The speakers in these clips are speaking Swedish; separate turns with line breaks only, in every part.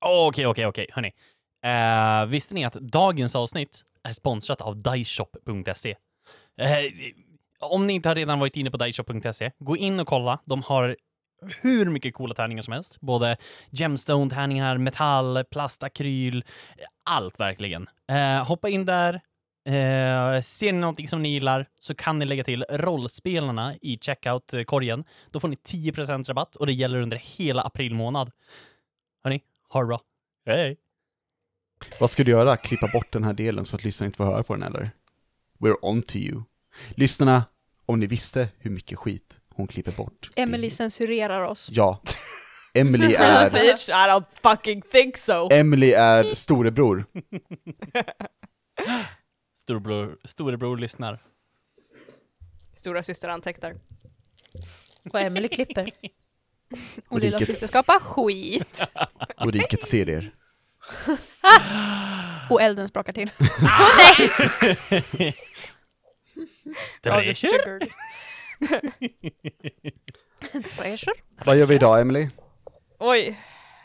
Okej, okej, okej, hörni. Eh, visste ni att dagens avsnitt är sponsrat av Diceshop.se? Eh, om ni inte har redan varit inne på Diceshop.se, gå in och kolla. De har hur mycket coola tärningar som helst. Både gemstone-tärningar, metall, plastakryl, allt verkligen. Eh, hoppa in där. Eh, ser ni någonting som ni gillar så kan ni lägga till rollspelarna i checkout-korgen. Då får ni 10% rabatt och det gäller under hela april månad. Hörni, ha det bra. Hej!
Vad ska du göra? Klippa bort den här delen så att lyssnarna inte får höra på den eller? We're on to you. Lyssnarna, om ni visste hur mycket skit hon klipper bort.
Emily censurerar oss.
Ja. Emily är,
Bitch, I don't fucking think so!
Emily är storebror.
Storebror, storebror lyssnar.
Stora syster antecknar.
Och Emily klipper. Och lilla
Riket.
syster skapar skit.
Och riket ser er.
Och elden sprakar till.
Brothers
Treasure?
triggered.
Treasure.
Vad gör vi idag, Emily?
Oj.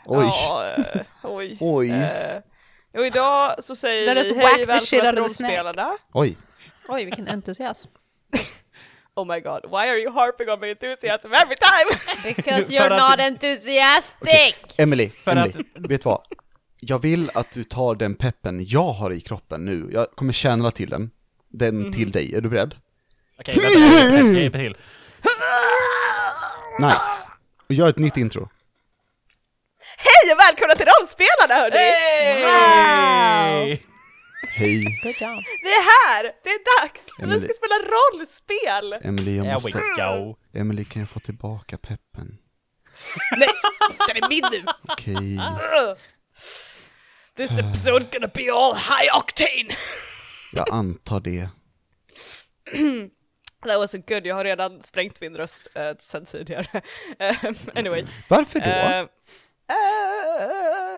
Oj.
Ja, eh, oj.
Oj.
Eh, och idag så säger
That is
vi
whack
hej
the shit
välkomna
out of
till
the snake.
rollspelarna.
Oj.
Oj, vilken entusiasm.
Oh my god, why are you harping on my enthusiasm every time?
Because
För att-
enthusiastic!
Emily,
För
Emily, vet du vad? Jag vill att du tar den peppen jag har i kroppen nu. Jag kommer tjäna till den. Den
Mhm.
till dig. Är du beredd?
Okej, vänta. Jag hjälper till.
Nice. Och gör ett nytt intro.
hej och välkomna till rollspelarna hörni! Wow!
Hej!
Hej,
Good job.
Vi är här, det är dags!
Emily.
Vi ska spela rollspel!
Emily, jag
There we
måste...
go.
Emily, kan jag få tillbaka peppen?
Nej, den är min nu!
Okej.
This episode's gonna be all high octane!
Jag antar det.
That was good, jag har redan sprängt min röst eh, sen tidigare. Eh, anyway.
Varför då?
Eh, eh,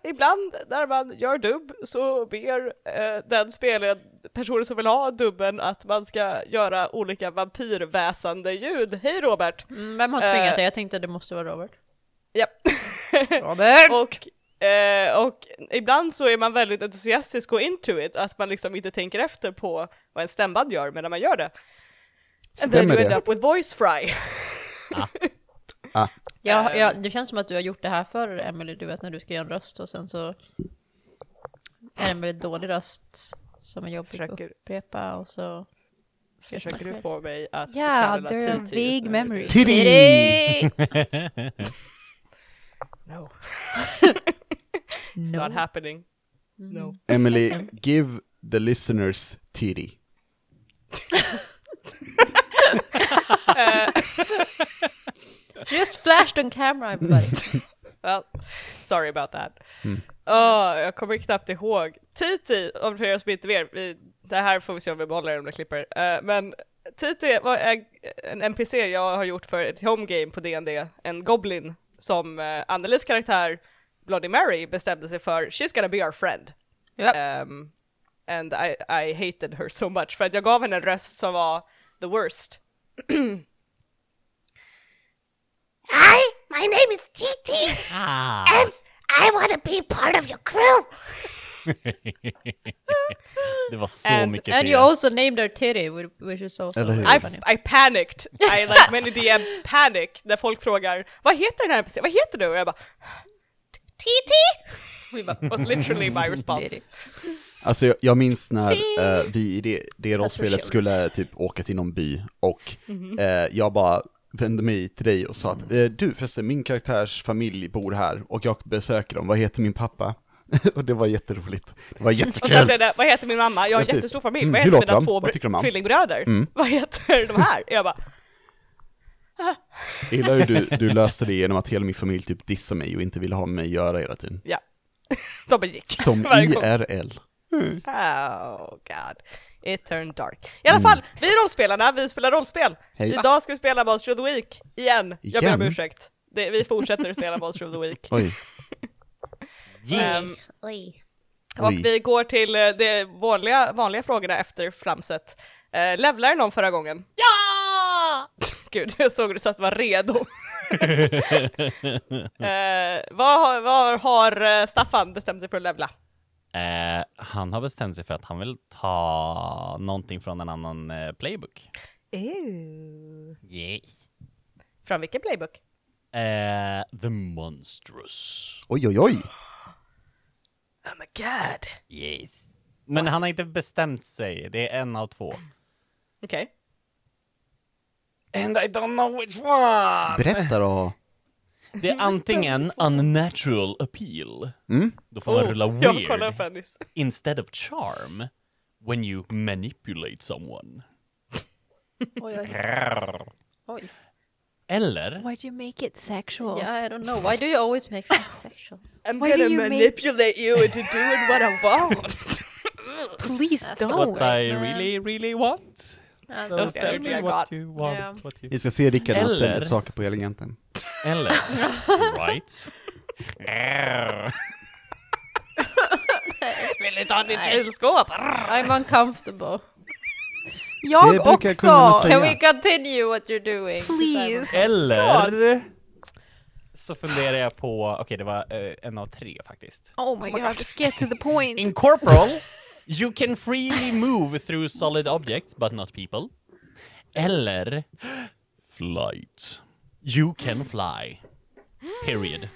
ibland när man gör dubb så ber eh, den spelaren, personen som vill ha dubben att man ska göra olika vampyrväsande ljud. Hej Robert!
Mm, Vem har
Eh.
tvingat dig? Jag tänkte det måste vara Robert.
Ja.
Robert!
och, eh, och ibland så är man väldigt entusiastisk och into it, att man liksom inte tänker efter på vad en stämband gör medan man gör det. And then
Stämmer
you end
det?
up with voice fry.
Ah,
eh,
Jag, jag, det känns som att du har gjort det här förr, Emily. Du vet när du ska göra en röst och sen så är det en väldigt dålig röst som är jobbig
Försöker-
att upprepa och så...
Försöker du få mig att
Yeah,
förklara
they're a
TT just
big
nu?
memory.
Titty!
No, it's not
No.
happening. Mm. No.
Emily, give the listeners titty.
Just flashed on camera, everybody.
Well, sorry about that. Åh, jag kommer knappt ihåg. Titi, om för er som inte vet, vi, det här får vi se om vi behåller om jag klipper. Eh, men Titi var en- en NPC jag har gjort för ett home game på D&D, en goblin som uh, Annelies karaktär Bloody Mary bestämde sig för, she's gonna be our friend.
Japp.
Ehm, and I, I hated her so much, för att jag gav henne en röst som var the worst.
Hi, my name is TT,
Ah.
and I want to be part of your crew.
Det var så
And-
mycket
And
fel.
you also named her Titty, whi- which is also
uh, Eller hur?
I,
really funny.
f- I panicked. I like many DMs panic när folk frågar vad heter den här NPC? Vad heter du? Och jag bara
TT?
Vi bara,
was literally my response.
Titty.
Alltså jag, jag minns när eh, vi i det, det rollspelet
Alltså,
skulle typ åka till någon by och
Mm-hmm.
eh, jag bara vände mig till dig och sa att eh, du förresten, min karaktärs familj bor här och jag besöker dem, vad heter min pappa? och det var jätteroligt, det var
Och sen
jättekul!
blev det, vad heter min mamma? Jag
Ja,
har en
precis.
jättestor familj.
Mm,
Vad
hur
heter
låter
mina
de?
två
Vad tycker de
br-
om? Mm.
tvillingbröder? Vad heter de här? Jag bara,
Gillar hur du, du löste det genom att hela min familj typ dissade mig och inte ville ha med mig att göra hela tiden.
ja. De bara gick.
Som
varje gång.
IRL.
Oh god. It turned dark. I alla fall, vi är rollspelarna, vi spelar rollspel.
Mm. Hej.
Idag ska vi spela Monster of the Week, igen. Jag ber om
Igen?
ursäkt. Det, vi fortsätter att spela Monster of the Week.
Oj,
Ehm,
Oi.
Och
Oj.
vi går till eh, de vanliga, vanliga frågorna efter flamset. Eh, levlade någon förra gången? Ja! Gud, jag såg du så att du var redo. Eh, vad, har- vad har eh, Staffan bestämt sig för att levla?
Eh, han har bestämt sig för att han vill ta någonting från en annan eh, playbook. Yay.
Från vilken playbook?
Eh, the Monstrous.
Oj, oj, oj!
Oh my god.
Yes. Men han har inte bestämt sig. Det är en av två.
Okej.
And I don't know which one!
Berätta då!
Det är antingen unnatural appeal.
Mm.
Då får man rulla
Jag kollar upp
weird
den nyss.
instead of charm when you manipulate someone.
Oj, oj, oj. Oh
Eller
Why'd you make it sexual?
Yeah, I don't know. Why do you always make things sexual?
I'm
Why do
gonna
you make-
manipulate you into doing what I want.
Please
That's not
don't.
what I
men-
really, really want.
Alltså,
Don't tell me I got.
you want.
Ja.
What you...
Vi ska se Rickard när han
Eller-
säljer saker på Elgiganten.
Eller, right?
Vill du ta ditt kylskåp?
I'm uncomfortable.
Det
Jag
brukar kunderna
också!
säga.
Can we continue what you're doing?
Please.
Eller så funderar jag på, okej det var eh, en av tre faktiskt.
Oh my god, just get to the point.
In corporal, you can freely move through solid objects, but not people. Eller flight. You can fly. Period.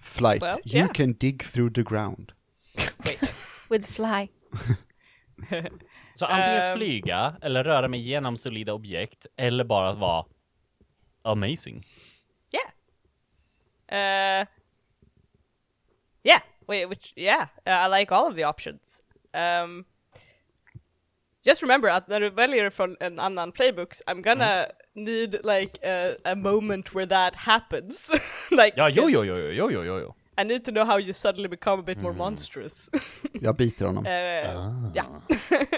Flight,
Well,
you
yeah.
can dig through the ground.
Wait.
With fly.
Så antingen
Ehm.
flyga eller röra mig genom solida objekt eller bara vara amazing.
Yeah. Uh, yeah. Wait, which, yeah, uh, I like all of the options. Um, just remember att när du väljer från en annan playbook, I'm gonna need like a, a moment where that happens. like,
Ja, jo, jo, jo, jo, jo, jo, jo, jo.
I need to know how you suddenly become a bit more monstrous.
Jag biter honom.
Eh,
Ah.
Ja.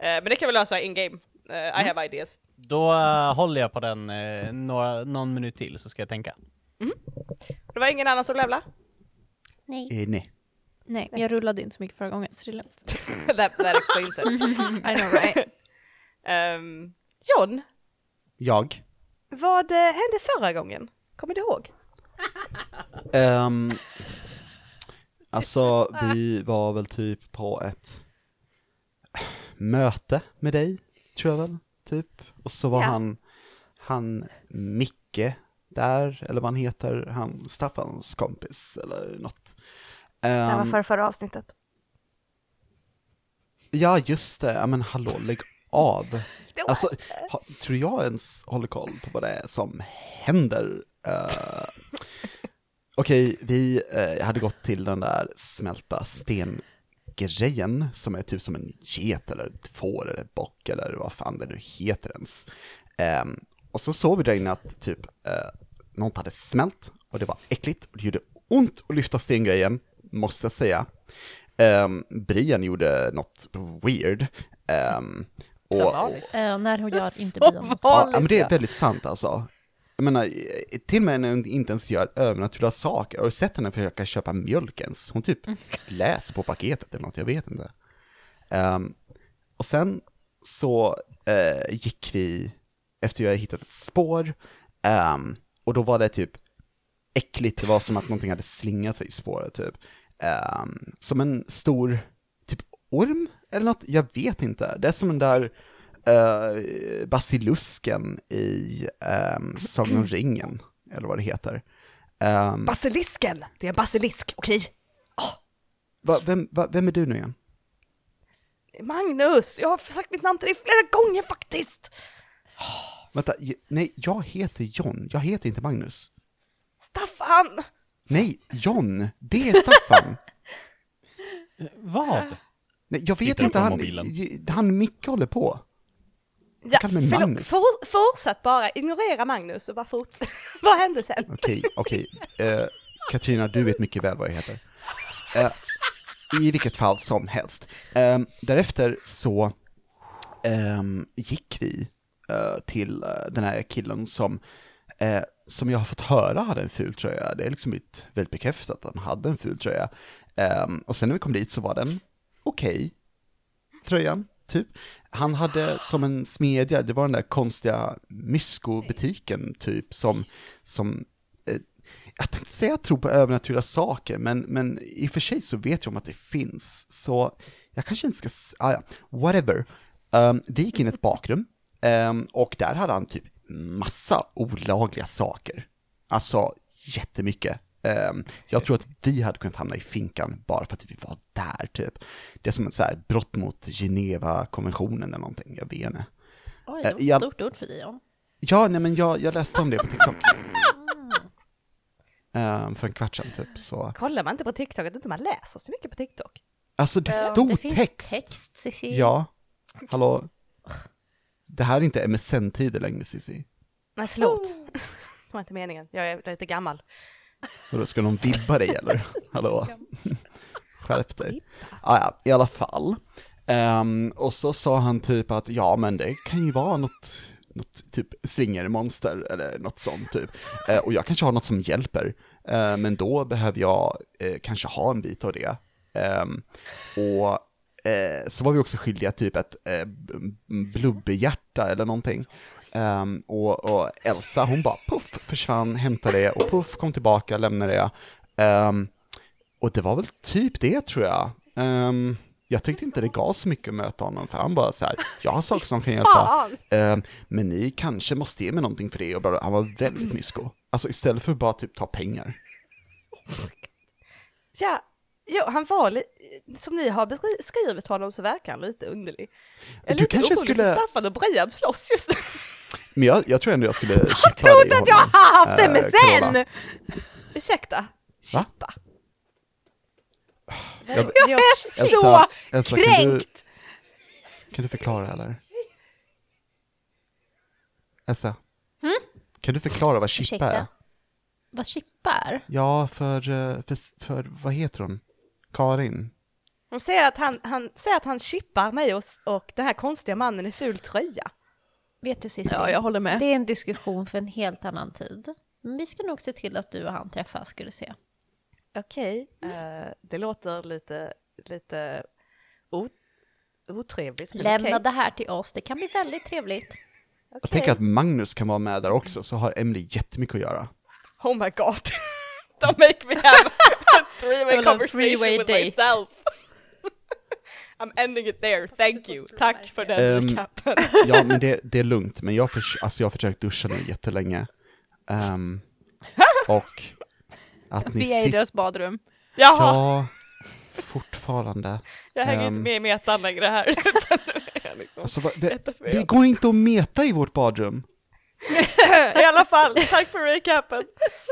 Eh, men det kan vi lösa in game. Eh, I
Mm.
have ideas.
Då eh, håller jag på den eh, några, någon minut till så ska jag tänka.
Det var ingen annan som levla?
Eh, nej.
Nej, men jag rullade inte så mycket förra gången, så det är lugnt.
that, that explains it.
I know right?
Ehm, John,
Jag?
vad eh, hände förra gången? Kommer du
Ehm.
ihåg?
Um, alltså, vi var väl typ på ett möte med dig, tror jag väl, typ. Och så var
Ja.
han, han Micke där, eller vad han heter, han Staffans kompis eller något.
Det
Ehm,
var förra, förra avsnittet.
Ja, just det. Ja, men hallå, lägg av.
var-
Alltså, ha, tror jag ens håller koll på vad det är som händer? Eh, Okej, vi eh, hade gått till den där smälta stengrejen som är typ som en get eller ett får eller ett bock eller vad fan det nu heter ens. Ehm, och så såg vi där inne att typ eh, något hade smält och det var äckligt och det gjorde ont att lyfta stengrejen, måste jag säga. Ehm, Brian gjorde något weird. ehm, och,
Eh, när hon gör inte
Så
bion.
Ja,
vanligt.
ja, men det är väldigt sant alltså. Jag menar, eh, till och med när hon inte ens gör övernaturliga saker, har du sett henne försöka köpa mjölk ens? Hon typ läser på paketet eller något, jag vet inte. Ehm, och sen så eh, gick vi, efter jag hade hittat ett spår, ehm, och då var det typ äckligt, det var som att någonting hade slingat sig i spåret typ. Ehm, som en stor, typ orm eller något, jag vet inte. Det är som den där eh, basilusken i um, Sagan om ringen, eller vad det heter. Ehm,
Basilisken! Det är en basilisk, okej?
va, vem, va, vem är du nu igen?
Magnus! Jag har sagt mitt namn till dig flera gånger faktiskt!
Vänta, j- nej, jag heter John, jag heter inte Magnus.
Staffan!
Nej, John, det är Staffan.
Vad?
Nej, jag vet
Tittar
inte,
på
han,
mobilen.
j- han Micke håller på.
Ja,
kallar mig
förlåt.
Magnus.
For, fortsätt bara, ignorera Magnus och bara fortsätt. vad hände sen?
Okej, okej. Eh, Katarina, du vet mycket väl vad jag heter. Eh, I vilket fall som helst. Ehm, därefter så ehm, gick vi eh, till eh, den här killen som, eh, som jag har fått höra hade en ful tröja. Det är liksom blivit väldigt bekräftat att han hade en ful tröja. Ehm, och sen när vi kom dit så var den okej, tröjan. typ. Han hade som en smedja, det var den där konstiga myskobutiken typ som, som eh, jag tänkte säga att tro på övernaturliga saker, men, men i och för sig så vet jag om att det finns, så jag kanske inte ska, s- ah, ja, whatever. Um, det gick in i ett bakrum, ehm, och där hade han typ massa olagliga saker. Alltså jättemycket. Um, jag tror att vi hade kunnat hamna i finkan bara för att vi var där typ. Det är som ett så här brott mot Geneva-konventionen eller någonting, jag vet inte.
Oj, det var
Eh, jag-
ett stort ord för Dion.
Ja, nej men jag, jag läste om det på TikTok. Ehm, för en kvart sedan typ, så.
Kollar man inte på TikTok, jag tror inte man läser så mycket på TikTok.
Alltså det
Ja,
stod
det finns
text.
text Cissi.
Ja, hallå. Det här är inte MSN-tider längre Cissi.
Nej, förlåt.
Oh.
Det var inte meningen, jag är lite gammal.
Vadå, ska de vibba dig eller? Hallå? Skärp dig. Ah, ja, i alla fall. Ehm, och så sa han typ att ja, men det kan ju vara något, något typ slingermonster eller något sånt typ. Eh, och jag kanske har något som hjälper, Eh, men då behöver jag eh, kanske ha en bit av det. Ehm, och eh, så var vi också skyldiga typ ett eh, b- m- blubberhjärta eller någonting. Ehm, och, och Elsa hon bara puff försvann, hämtade det och puff kom tillbaka, lämnade det. Ehm, och det var väl typ det tror jag. Ehm, jag tyckte inte det gav så mycket att möta honom för han bara så här, jag har saker som kan hjälpa,
Fan!
Ehm, men ni kanske måste ge mig någonting för det och bla, bla. han var väldigt mysko. Alltså istället för att bara typ ta pengar.
Ja, jo, han var li- som ni har beskrivit honom så verkar han lite underlig. Jag är
Du
lite
kanske
orolig
skulle-
för Staffan och Brejab slåss just nu.
Men jag, jag tror ändå jag skulle chippa dig
trodde att jag
honom.
har haft det
Eh,
med
Carola.
sen! Ursäkta,
Va?
chippa.
Jag-
Jag är
Elsa,
så
Elsa, Kan du,
kränkt!
kan du förklara eller? Elsa?
Hm?
Kan du förklara vad chippa är?
Ursäkta. Vad chippar?
Ja, för, eh, för, för, vad heter hon? Karin?
Hon säger att han, han, säger att han chippar mig och, s- och den här konstiga mannen i ful tröja.
Vet du Cissi?
Ja, jag håller med.
Det är en diskussion för en helt annan tid. Men vi ska nog se till att du och han träffas, ska du se.
Okej, eh, det låter lite, lite o- otrevligt. men
Lämna
okej.
det här till oss, det kan bli väldigt trevligt.
Jag tänker att Magnus kan vara med där också, så har Emily jättemycket att göra.
Oh my god. Don't make me have a three-way
Well, a
conversation
three-way
with
date.
myself. I'm ending it there, thank you. Tack för den
Ehm,
recapen.
Ja, men det, det är lugnt, men jag, förs- alltså, jag har försökt duscha nu jättelänge. Ehm, och att ni
Vi är i
sitter...
deras badrum.
Jaha,
Ja, fortfarande.
jag hänger
ehm.
inte med i metan längre här. Utan jag liksom,
Alltså, vad, det,
detta får
det
jag.
går inte att meta i vårt badrum.
I alla fall, tack för recapen.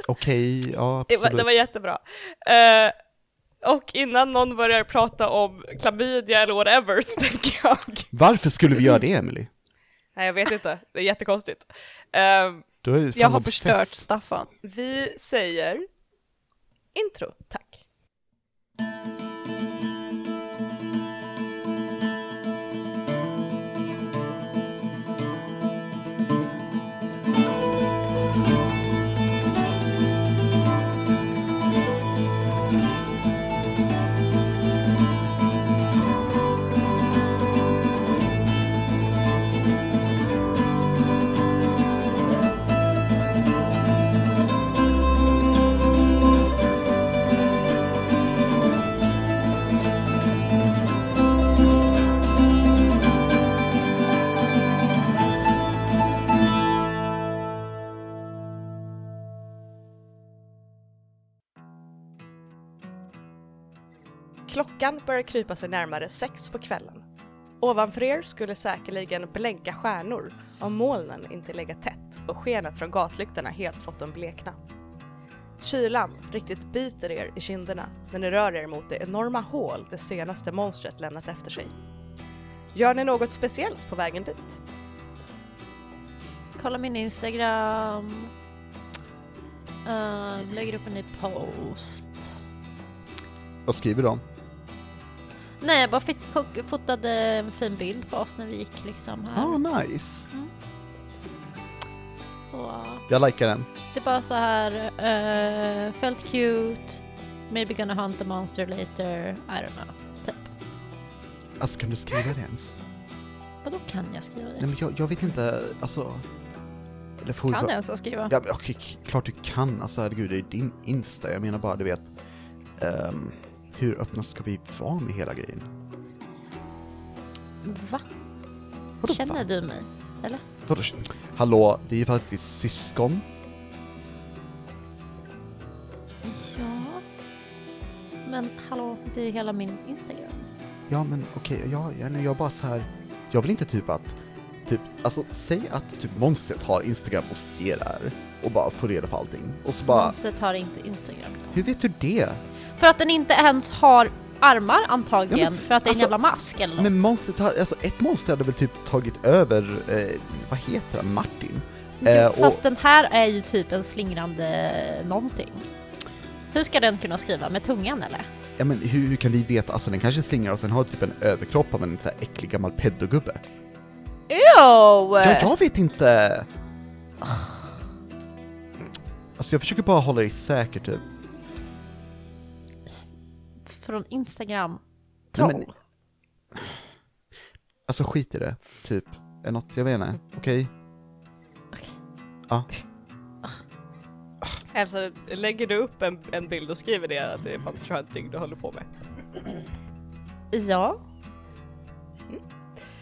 Okej, ja
Det var,
absolut.
det var jättebra. Eh, och innan någon börjar prata om klamydia eller whatever så tänker jag...
Varför skulle vi göra det, Emily?
Nej, jag vet inte. Det är jättekonstigt. Ehm,
Du är ju fan
Jag har
obsess.
förstört Staffan.
Vi säger intro, tack. Klockan börjar krypa sig närmare sex på kvällen. Ovanför er skulle säkerligen blänka stjärnor om molnen inte legat tätt och skenet från gatlyktorna helt fått dem blekna. Kylan riktigt biter er i kinderna när ni rör er mot det enorma hål det senaste monstret lämnat efter sig. Gör ni något speciellt på vägen dit?
Kolla min Instagram. Uh, lägger upp en ny post.
Vad skriver de?
Nej, jag bara fit- fo- fotade en fin bild på oss när vi gick liksom här.
Ah, nice.
Så eh,
Jag likar den.
det är bara så här, eh, felt cute, maybe gonna hunt the monster later, I don't know. Typ.
Alltså kan du skriva det ens?
Vadå kan jag skriva
Nej
det?
men jag, jag vet inte, alltså... Eller får vi
Kan
vara-
jag ens skriva?
Ja, men, okej, k- klart du kan. Alltså herregud, det är ju din Insta. Jag menar bara, du vet. ehm, hur öppna ska vi vara med hela grejen?
Va?
Vadå,
Känner
va?
du mig?
Vadå, k- Hallå, vi är faktiskt syskon.
Ja. Men hallå, det är hela min Instagram.
Ja, men okej, ja, jag, nej, jag bara så här. Jag vill inte typ att... Typ, alltså säg att typ Monset har Instagram och ser det här och bara får reda på allting. Och så bara,
Monset har inte Instagram.
hur vet du det?
För att den inte ens har armar antagligen,
Ja, men,
för att det är en
alltså,
jävla mask eller något.
Men monstret har, alltså ett monster hade väl typ tagit över, eh, vad heter han, Martin? Eh, och-
Fast den här är ju typ en slingrande någonting. Hur ska den kunna skriva? Med tungan eller?
Ja men hur, hur kan vi veta? Alltså den kanske slingrar och sen har typ en överkropp av en så här äcklig gammal peddogubbe.
Jo!
Ja, jag vet inte! Alltså jag försöker bara hålla dig säker typ.
Från Instagram?
Nej,
Troll?
men- Alltså skit i det, typ. Är det något, jag vet inte. Okej?
Alltså, lägger du upp en, en bild och skriver det att det är Monster Hunting du håller på med?
Ja.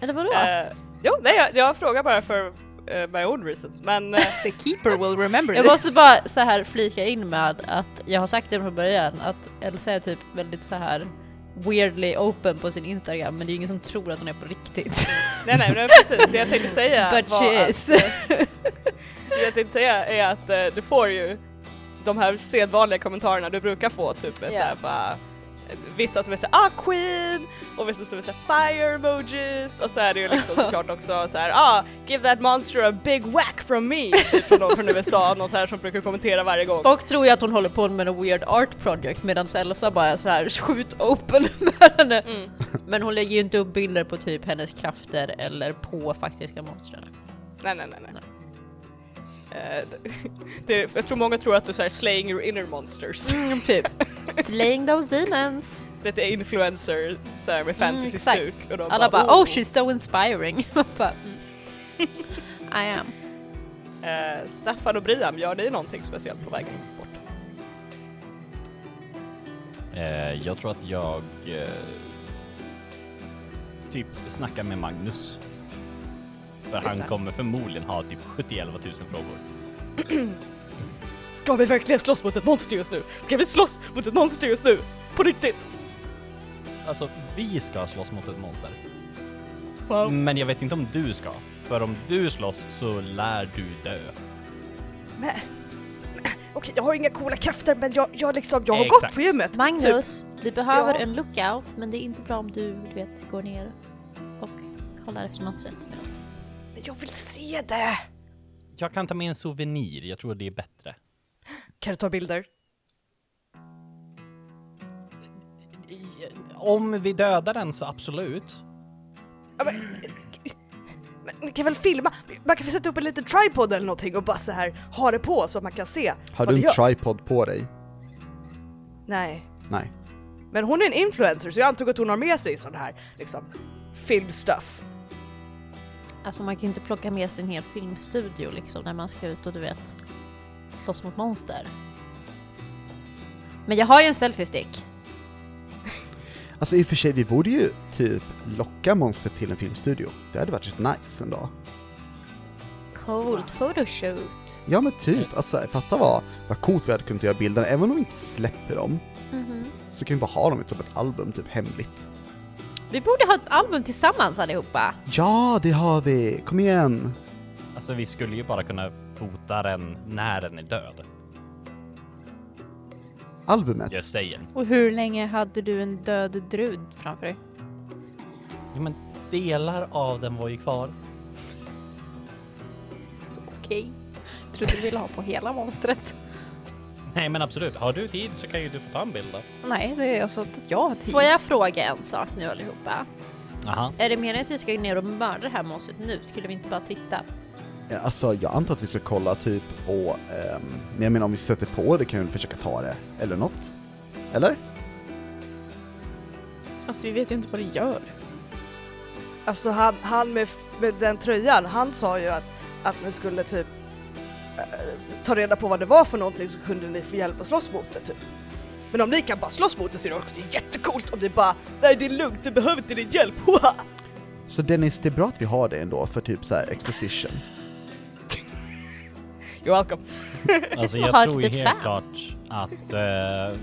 Eller vadå?
Eh, jo, nej jag, jag frågar bara för eh, my own reasons, men eh,
The keeper will remember
Jag måste bara så här flika in med att jag har sagt det från början att Elsa är typ väldigt så här weirdly open på sin Instagram men det är ju ingen som tror att hon är på riktigt.
nej nej men precis, det jag tänkte säga
But
var
she
att,
is.
det jag tänkte säga är att eh, du får ju de här sedvanliga kommentarerna du brukar få, typ yeah.
Ja.
såhär bara eh, Vissa som är såhär ah queen och vissa som är såhär fire emojis och så är det ju liksom såklart också såhär ah give that monster a big whack from me typ från någon från USA, någon så här som brukar kommentera varje gång.
Folk tror ju att hon håller på med en weird art project medan Elsa bara är så här skjut open med henne.
Mm.
Men hon lägger ju inte upp bilder på typ hennes krafter eller på faktiska monster.
Nej, nej, nej. nej. Eh, det, jag tror många tror att du säger slaying your inner monsters.
Mm, typ. Slaying those demons. Mm,
Lite influencer så här, med fantasy-stuk.
exakt.
och de
Alla bara oh she's so inspiring. Man bara, mm. I am.
Eh, Staffan och Brian, gör ni någonting speciellt på vägen bort?
Eh, jag tror att jag eh, typ snackar med Magnus. För han
det.
kommer förmodligen ha typ 71 000 frågor.
Ska vi verkligen slåss mot ett monster just nu? Ska vi slåss mot ett monster just nu? På riktigt?
Alltså, vi ska slåss mot ett monster.
Wow.
Men jag vet inte om du ska. För om du slåss så lär du dö.
Okej, jag har inga coola krafter men jag, jag, liksom, jag har
Exakt.
gått på gymmet. Typ,
Magnus, vi behöver
Ja.
en lookout men det är inte bra om du, du vet, går ner och kollar efter monstret med oss.
Men jag vill se det!
Jag kan ta med en souvenir, jag tror det är bättre.
Kan du ta bilder?
Om vi dödar den så absolut.
Ja, men, men, ni kan väl filma? Man kan väl sätta upp en liten tripod eller någonting och bara så här ha det på så man kan se.
Har
vad
du
ni
en
gör.
tripod på dig?
Nej,
Nej.
men hon är en influencer så jag antog att hon har med sig sån här liksom filmstuff.
Alltså man kan ju inte plocka med sig en hel filmstudio liksom när man ska ut och du vet slåss mot monster. Men jag har ju en selfiestick.
Alltså i och för sig, vi borde ju typ locka monstret till en filmstudio. Det hade varit rätt nice en dag.
Coolt photoshoot.
Ja men typ, alltså fatta vad, vad coolt vi hade kunnat göra bilderna. Även om vi inte släpper dem, så kan vi bara ha dem i typ ett album, typ hemligt.
Vi borde ha ett album tillsammans allihopa.
Ja, det har vi! Kom igen!
Alltså vi skulle ju bara kunna fota den när den är död.
Albumet.
Jag säger.
Och hur länge hade du en död drud framför dig?
Ja, men delar av den var ju kvar.
Okej. Tror du ville ha på hela monstret?
Nej men absolut, har du tid så kan ju du få ta en bild då.
Nej, det är alltså att jag har tid.
Får jag fråga en sak nu allihopa?
Aha.
Är det meningen att vi ska gå ner och mörda det här monstret nu? Skulle vi inte bara titta?
Ja, Alltså jag antar att vi ska kolla typ och, ehm, men jag menar om vi stöter på det kan vi väl försöka ta det, eller något? Eller?
Alltså vi vet ju inte vad det gör.
Alltså han, han med, med den tröjan, han sa ju att, att ni skulle typ eh, ta reda på vad det var för någonting så kunde ni få hjälp att slåss mot det typ. Men om ni kan bara slåss mot det så är det också jättecoolt om ni bara nej det är lugnt, vi behöver inte din hjälp, Hoha!
Så Dennis, det är bra att vi har det ändå för typ så här exposition.
You're welcome.
Alltså
som att ha
jag
ett
tror ju
litet
helt
fan.
klart att eh,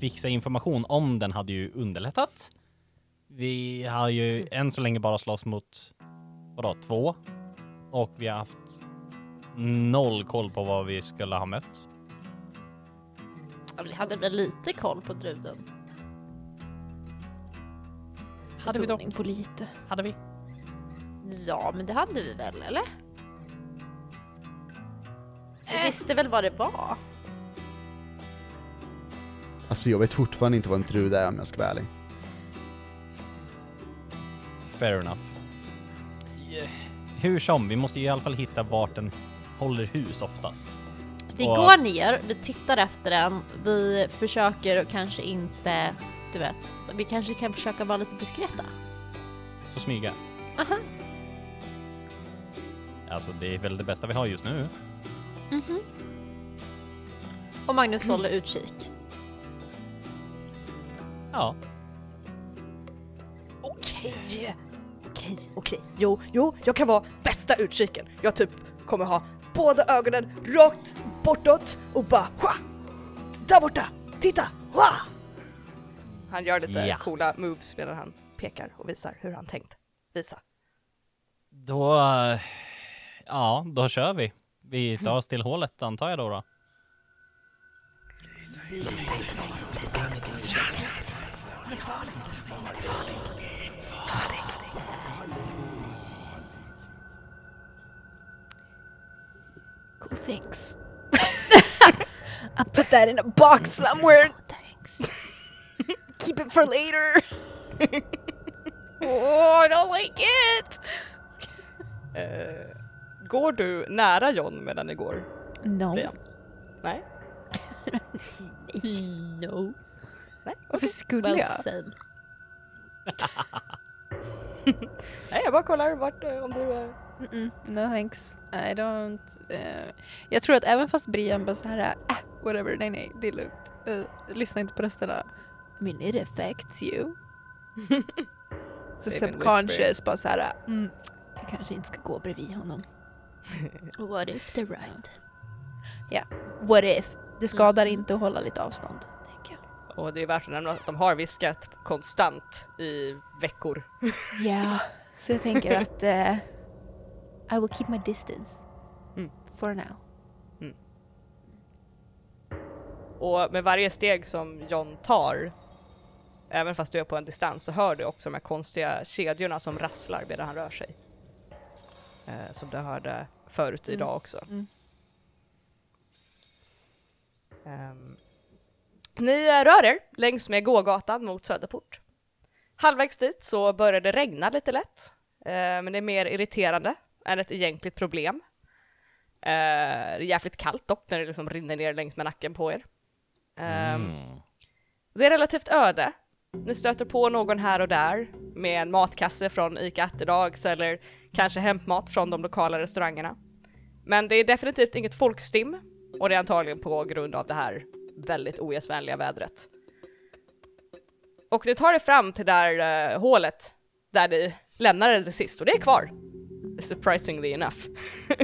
fixa information om den hade ju underlättat. Vi har ju än så länge bara slåss mot vadå, två och vi har haft noll koll på vad vi skulle ha mött.
Ja, vi hade väl lite koll på druden.
Hade vi dock.
Betoning på lite.
Hade vi?
Ja, men det hade vi väl, eller?
Eh.
Vi visste väl vad det var?
Alltså jag vet fortfarande inte vad en drud är om jag ska vara ärlig.
Fair enough. Eh, Hur som, vi måste ju i alla fall hitta vart den håller hus oftast.
Vi
Och-
går ner, vi tittar efter den, vi försöker och kanske inte, du vet, vi kanske kan försöka vara lite diskreta.
Så smyga.
Aha.
Alltså det är väl det bästa vi har just nu.
Och Magnus håller utkik.
Ja.
Okej, okej, okej. Jo, jo, jag kan vara bästa utkiken. Jag typ kommer ha båda ögonen rakt bortåt och bara Hua! Där borta! Titta! Hua! Han gör lite
Ja.
coola moves medan han pekar och visar hur han tänkt visa.
Då... eh, Ja, då kör vi. Vi tar oss till hålet antar jag då. då.
Cool things. I put that in a box somewhere. Thanks. Keep it for later. oh, I don't like it.
Eh, Går du nära John medan ni går?
No.
Freja? Nej?
Mm.
No.
Nej?
Varför skulle
Well
jag?
same.
Nej, jag bara kollar vart, eh, om du... eh,
Mm-mm, no thanks. I don't... eh, jag tror att även fast Brian bara så här, ah, whatever, nej nej, det är lugnt. Eh, lyssna inte på rösterna. I mean it affects you. så
They've been
subconscious
whispering.
bara så här, mm, jag kanske inte ska gå bredvid honom.
What if the ride?
What if? Det skadar inte att hålla lite avstånd. tänker jag.
Och det är värt att nämna att de har viskat konstant i veckor.
Ja, så jag tänker att eh, I will keep my distance.
Mm.
For now.
Och med varje steg som John tar, även fast du är på en distans, så hör du också de här konstiga kedjorna som rasslar medan han rör sig. Eh, som du hörde förut idag också.
mm.
Ehm, ni eh, rör er längs med gågatan mot Söderport. Halvvägs dit så börjar det regna lite lätt, eh, men det är mer irriterande än ett egentligt problem. Eh, det är jävligt kallt dock när det liksom rinner ner längs med nacken på er. Ehm,
Mm.
det är relativt öde. Ni stöter på någon här och där med en matkasse från ICA Atterdags eller kanske hämtmat från de lokala restaurangerna. Men det är definitivt inget folkstim och det är antagligen på grund av det här väldigt ogästvänliga vädret. Och ni tar er fram till det där eh, hålet där ni lämnade det sist och det är kvar. Surprisingly enough.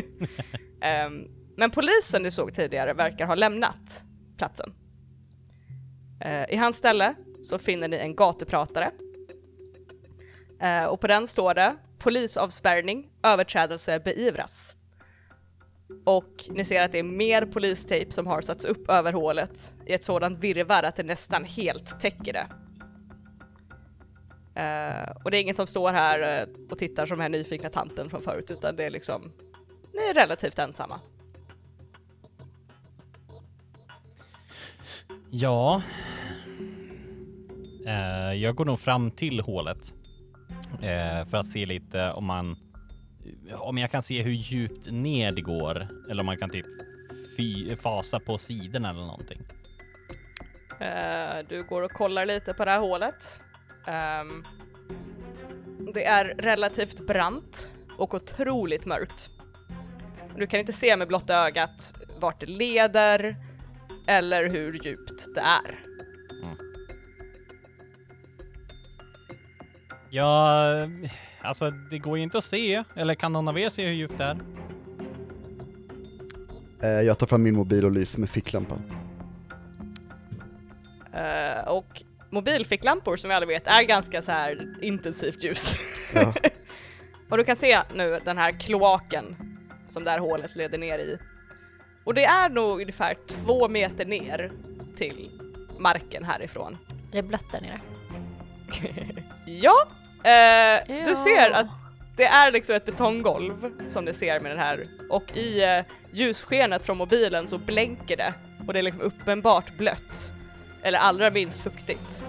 Ehm, men polisen du såg tidigare verkar ha lämnat platsen. Eh, I hans ställe så finner ni en gatupratare. Eh, och på den står det polisavspärrning, överträdelse beivras. Och ni ser att det är mer polistejp som har satts upp över hålet i ett sådant virrvarr att det nästan helt täcker det. Eh, och det är ingen som står här eh, och tittar som den här nyfikna tanten från förut utan det är liksom, ni är relativt ensamma.
Ja. Eh, jag går nog fram till hålet. eh, för att se lite om man... Om jag kan se hur djupt ner det går. Eller om man kan typ fy, fasa på sidorna eller någonting.
Eh, du går och kollar lite på det här hålet. Ehm, Det är relativt brant och otroligt mörkt. Du kan inte se med blotta ögat vart det leder eller hur djupt det är.
Ja, alltså det går ju inte att se, eller kan någon av er se hur djupt det är?
Eh, jag tar fram min mobil och lyser med ficklampan.
Eh, och mobilficklampor som vi alla vet är ganska så här intensivt ljus.
Ja.
och du kan se nu den här kloaken som det här hålet leder ner i. Och det är nog ungefär två meter ner till marken härifrån.
Är det blött där nere?
Ja, eh,
Ja.
du ser att det är liksom ett betonggolv som ni ser med den här och i eh, ljusskenet från mobilen så blänker det och det är liksom uppenbart blött. Eller allra minst fuktigt.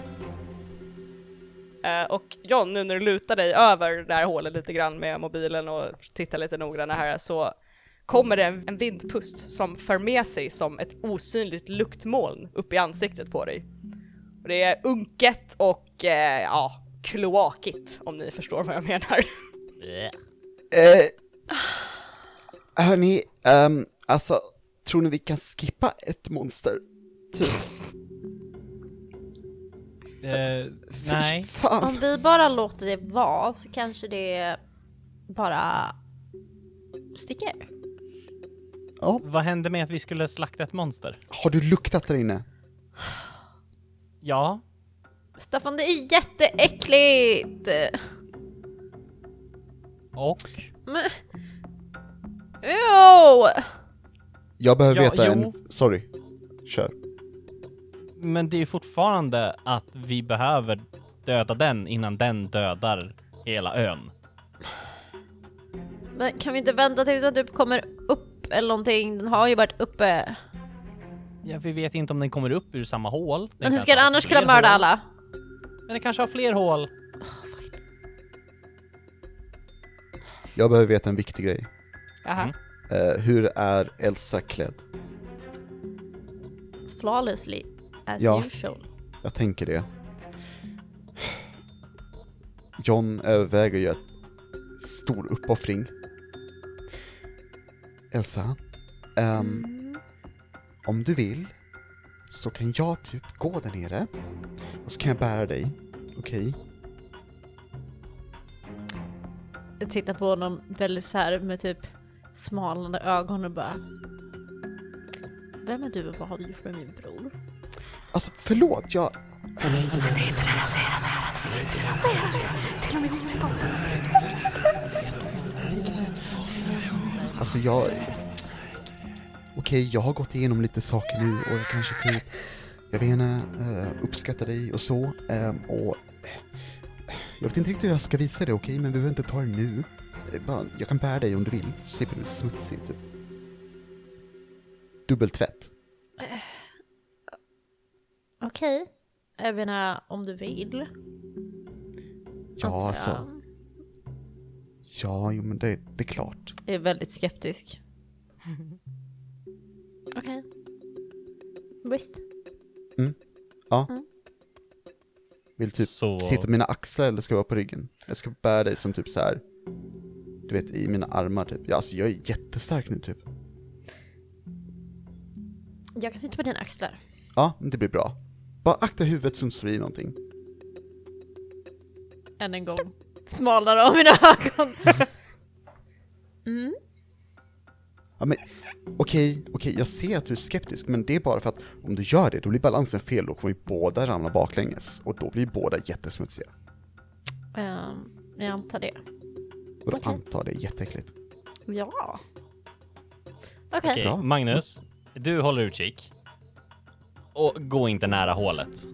Eh, och John, nu när du lutar dig över det här hålet lite grann med mobilen och tittar lite noggrannare här så kommer det en, en vindpust som för med sig som ett osynligt luktmoln upp i ansiktet på dig. Och det är unket och eh, ja, kloakigt om ni förstår vad jag menar.
Eh, hörni, ehm, alltså, tror ni vi kan skippa ett monster? Typ.
Eh,
Fy
nej.
Fan.
Om vi bara låter det vara så kanske det bara sticker.
Vad hände med att vi skulle slakta ett monster?
Har du luktat där inne?
Ja,
Staffan, det är jätteäckligt!
och?
Men... Jo!
Jag behöver
Ja,
veta
jo.
en... Sorry. Kör.
Men det är ju fortfarande att vi behöver döda den innan den dödar hela ön.
Men kan vi inte vänta tills den typ kommer upp eller någonting? Den har ju varit uppe.
Ja, vi vet inte om den kommer upp ur samma hål. Den
Men hur
kanske
ska den
har
annars
fler
kunna mörda
hål.
alla?
Men den kanske har fler hål.
Jag behöver veta en viktig grej.
Aha.
Mm.
Eh, hur är Elsa klädd?
Flawlessly, as
Ja.
usual.
Jag tänker det. John överväger ju en stor uppoffring. Elsa, ehm, om du vill så kan jag typ gå där nere och så kan jag bära dig. Okej?
Jag tittar på honom väldigt så här med typ smalnande ögon och bara... Vem är du och vad har du gjort med min bror?
Alltså förlåt, jag... Alltså jag... Okej, jag har gått igenom lite saker nu och jag kanske typ... Jag vet inte, eh, uppskattar dig och så. ehm, och... Jag vet inte riktigt hur jag ska visa det, okej? men vi behöver inte ta det nu. Eh, Bara, jag kan bära dig om du vill. Så slipper du bli smutsig, typ. Dubbeltvätt.
Okej. Jag menar, om du vill. antar jag.
Ja, alltså. Ja, jo men det, det är klart.
Jag är väldigt skeptisk. Okej. Visst.
Vill typ
Så...
sitta på mina axlar eller ska jag vara på ryggen? Jag ska bära dig som typ så här. du vet i mina armar typ. Ja, alltså jag är jättestark nu typ.
Jag kan sitta på dina axlar.
Ja, men det blir bra. Bara akta huvudet som slår i någonting.
Än en gång. Smalnare av mina ögon. Mm.
Ja, men okej, okej, jag ser att du är skeptisk, men det är bara för att om du gör det, då blir balansen fel, då kommer vi båda ramla baklänges och då blir båda jättesmutsiga.
Ehm, jag antar det.
Och då
Okej.
antar det är jätteäckligt.
Ja. Okej.
Okej,
Bra.
Magnus, du håller utkik. Och gå inte nära hålet.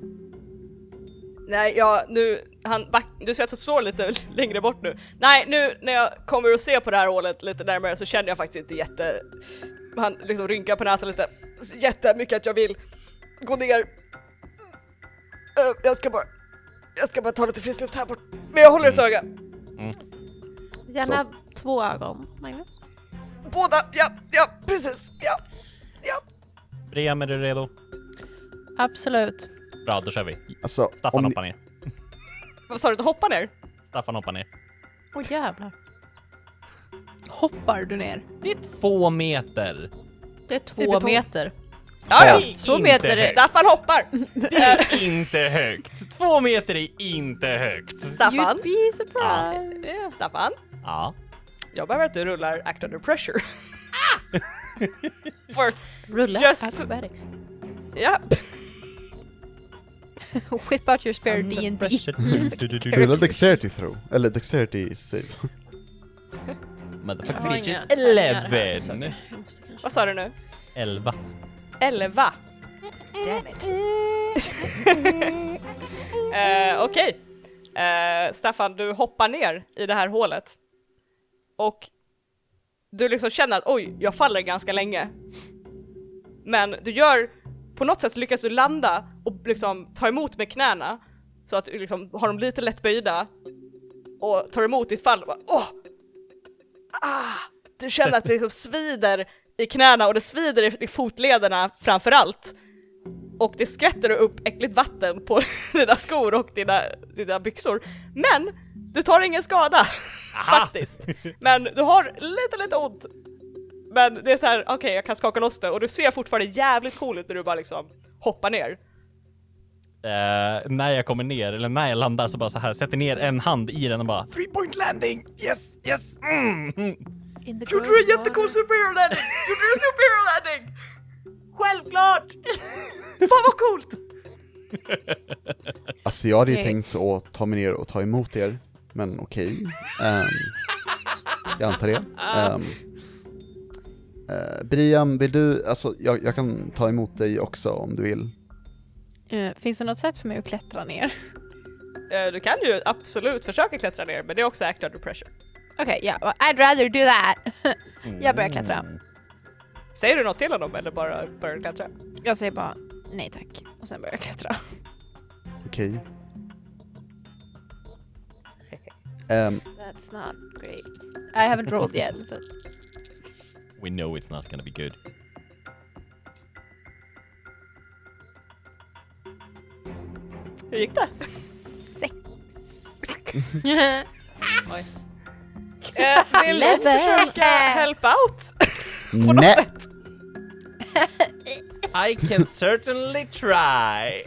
Nej, ja, nu, han back, du ser att han står lite längre bort nu. Nej, nu när jag kommer att se på det här hålet lite närmare så känner jag faktiskt inte jätte... Han liksom rynkar på näsan lite så jättemycket att jag vill gå ner. Eh, jag ska bara... Jag ska bara ta lite frisk luft här bort. Men jag håller ett öga.
Gärna två ögon, Magnus.
Båda, ja, ja, precis, ja.
Briam, är du redo?
Absolut.
Bra, då kör vi.
Alltså,
Staffan
om ni,
hoppar ner.
Vad sa du, att hoppa ner?
Staffan hoppar ner.
Åh jävlar.
Hoppar du ner?
Det är två meter.
Det är
Det är
två
betong.
meter.
Ja, ja.
Det är
Två
inte
meter är-
högt.
Staffan hoppar!
Det är inte högt. Två meter är inte högt.
Staffan,
You'd be surprised. Yeah.
Staffan,
Ja.
jag behöver att du rullar Act Under Pressure. Ah! For,
Rulla
Just-
acrobatics.
ja.
Whip out your spare D&D.
Rulla dexterity throw, eller dexterity save.
Motherfucker
Jag har
bitch is
inga tärningar här, så
11.
jag måste kanske-
Vad sa du nu?
11.
Elva. Damn it. Eh, Okej. Eh, Staffan, du hoppar ner i det här hålet. Och du liksom känner att oj, jag faller ganska länge. Men du gör, på något sätt så lyckas du landa och liksom ta emot med knäna. Så att du liksom har dem lite lätt böjda. Och tar emot ditt fall och bara, åh! Ah! Du känner att det liksom svider i knäna och det svider i, i fotlederna framför allt. Och det skvätter upp äckligt vatten på dina skor och dina, dina byxor. Men du tar ingen skada faktiskt. Men du har lite, lite ont. Men det är så här, okej jag kan skaka loss det och du ser fortfarande jävligt cool ut när du bara liksom hoppar ner.
Eh, när jag kommer ner, eller när jag landar så bara så här, sätter ner en hand i den och bara Three point landing! Yes, yes! Mm. mm."
In the
Gjorde du
gross
en jättecool
water.
superhero landing? Gjorde du en superhero landing? Självklart! Fan vad coolt!
Alltså jag hade ju
Okej.
tänkt att ta mig ner och ta emot er, men okej. Ehm, jag antar det. Um, Brian, vill du, alltså jag, jag kan ta emot dig också om du vill.
Eh, Finns det något sätt för mig att klättra ner?
Eh, Du kan ju absolut försöka klättra ner men det är också act under pressure.
Okej, ja. well, I'd rather do that. jag börjar klättra.
Säger du något till honom eller bara börjar du klättra?
Jag säger bara nej tack. Och sen börjar jag klättra.
Okej. Ehm,
That's not great. I haven't rolled yet. But...
We know it's not gonna be good.
Hur gick det?
Sex.
Oj.
Eh, vill någon
Level.
försöka help out?
nej!
I can certainly try!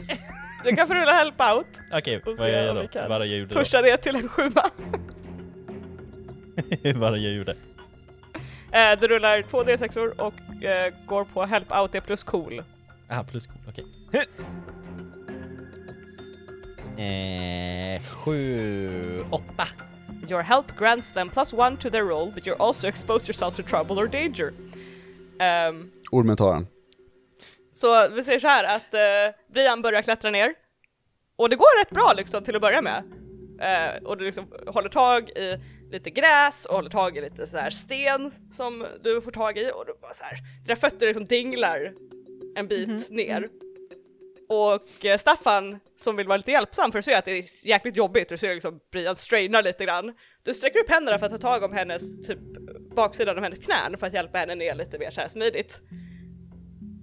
Du kan få rulla help out.
Okej,
Och
vad
se
gör jag
om
då?
vi kan
Vad jag gjorde
Pusha ner till en sjua.
då? vad jag gjorde?
Eh, du rullar två D6 or och eh, går på help out det är plus cool.
Ah, plus cool, okej. eh, sju, åtta.
Your help grants them plus one to their roll but you're also exposed yourself to trouble or danger. Ehm,
Ormen tar den.
Så vi säger så här att eh, Brian börjar klättra ner. Och det går rätt bra liksom till att börja med. Eh, och du liksom håller tag i lite gräs och håller tag i lite så här sten som du får tag i och du bara så här, dina fötter liksom dinglar en bit ner. Och eh, Staffan som vill vara lite hjälpsam för att se att det är jäkligt jobbigt, du ser liksom Brian strainar lite grann. Du sträcker upp händerna för att ta tag om hennes, typ baksidan av hennes knän för att hjälpa henne ner lite mer så här smidigt.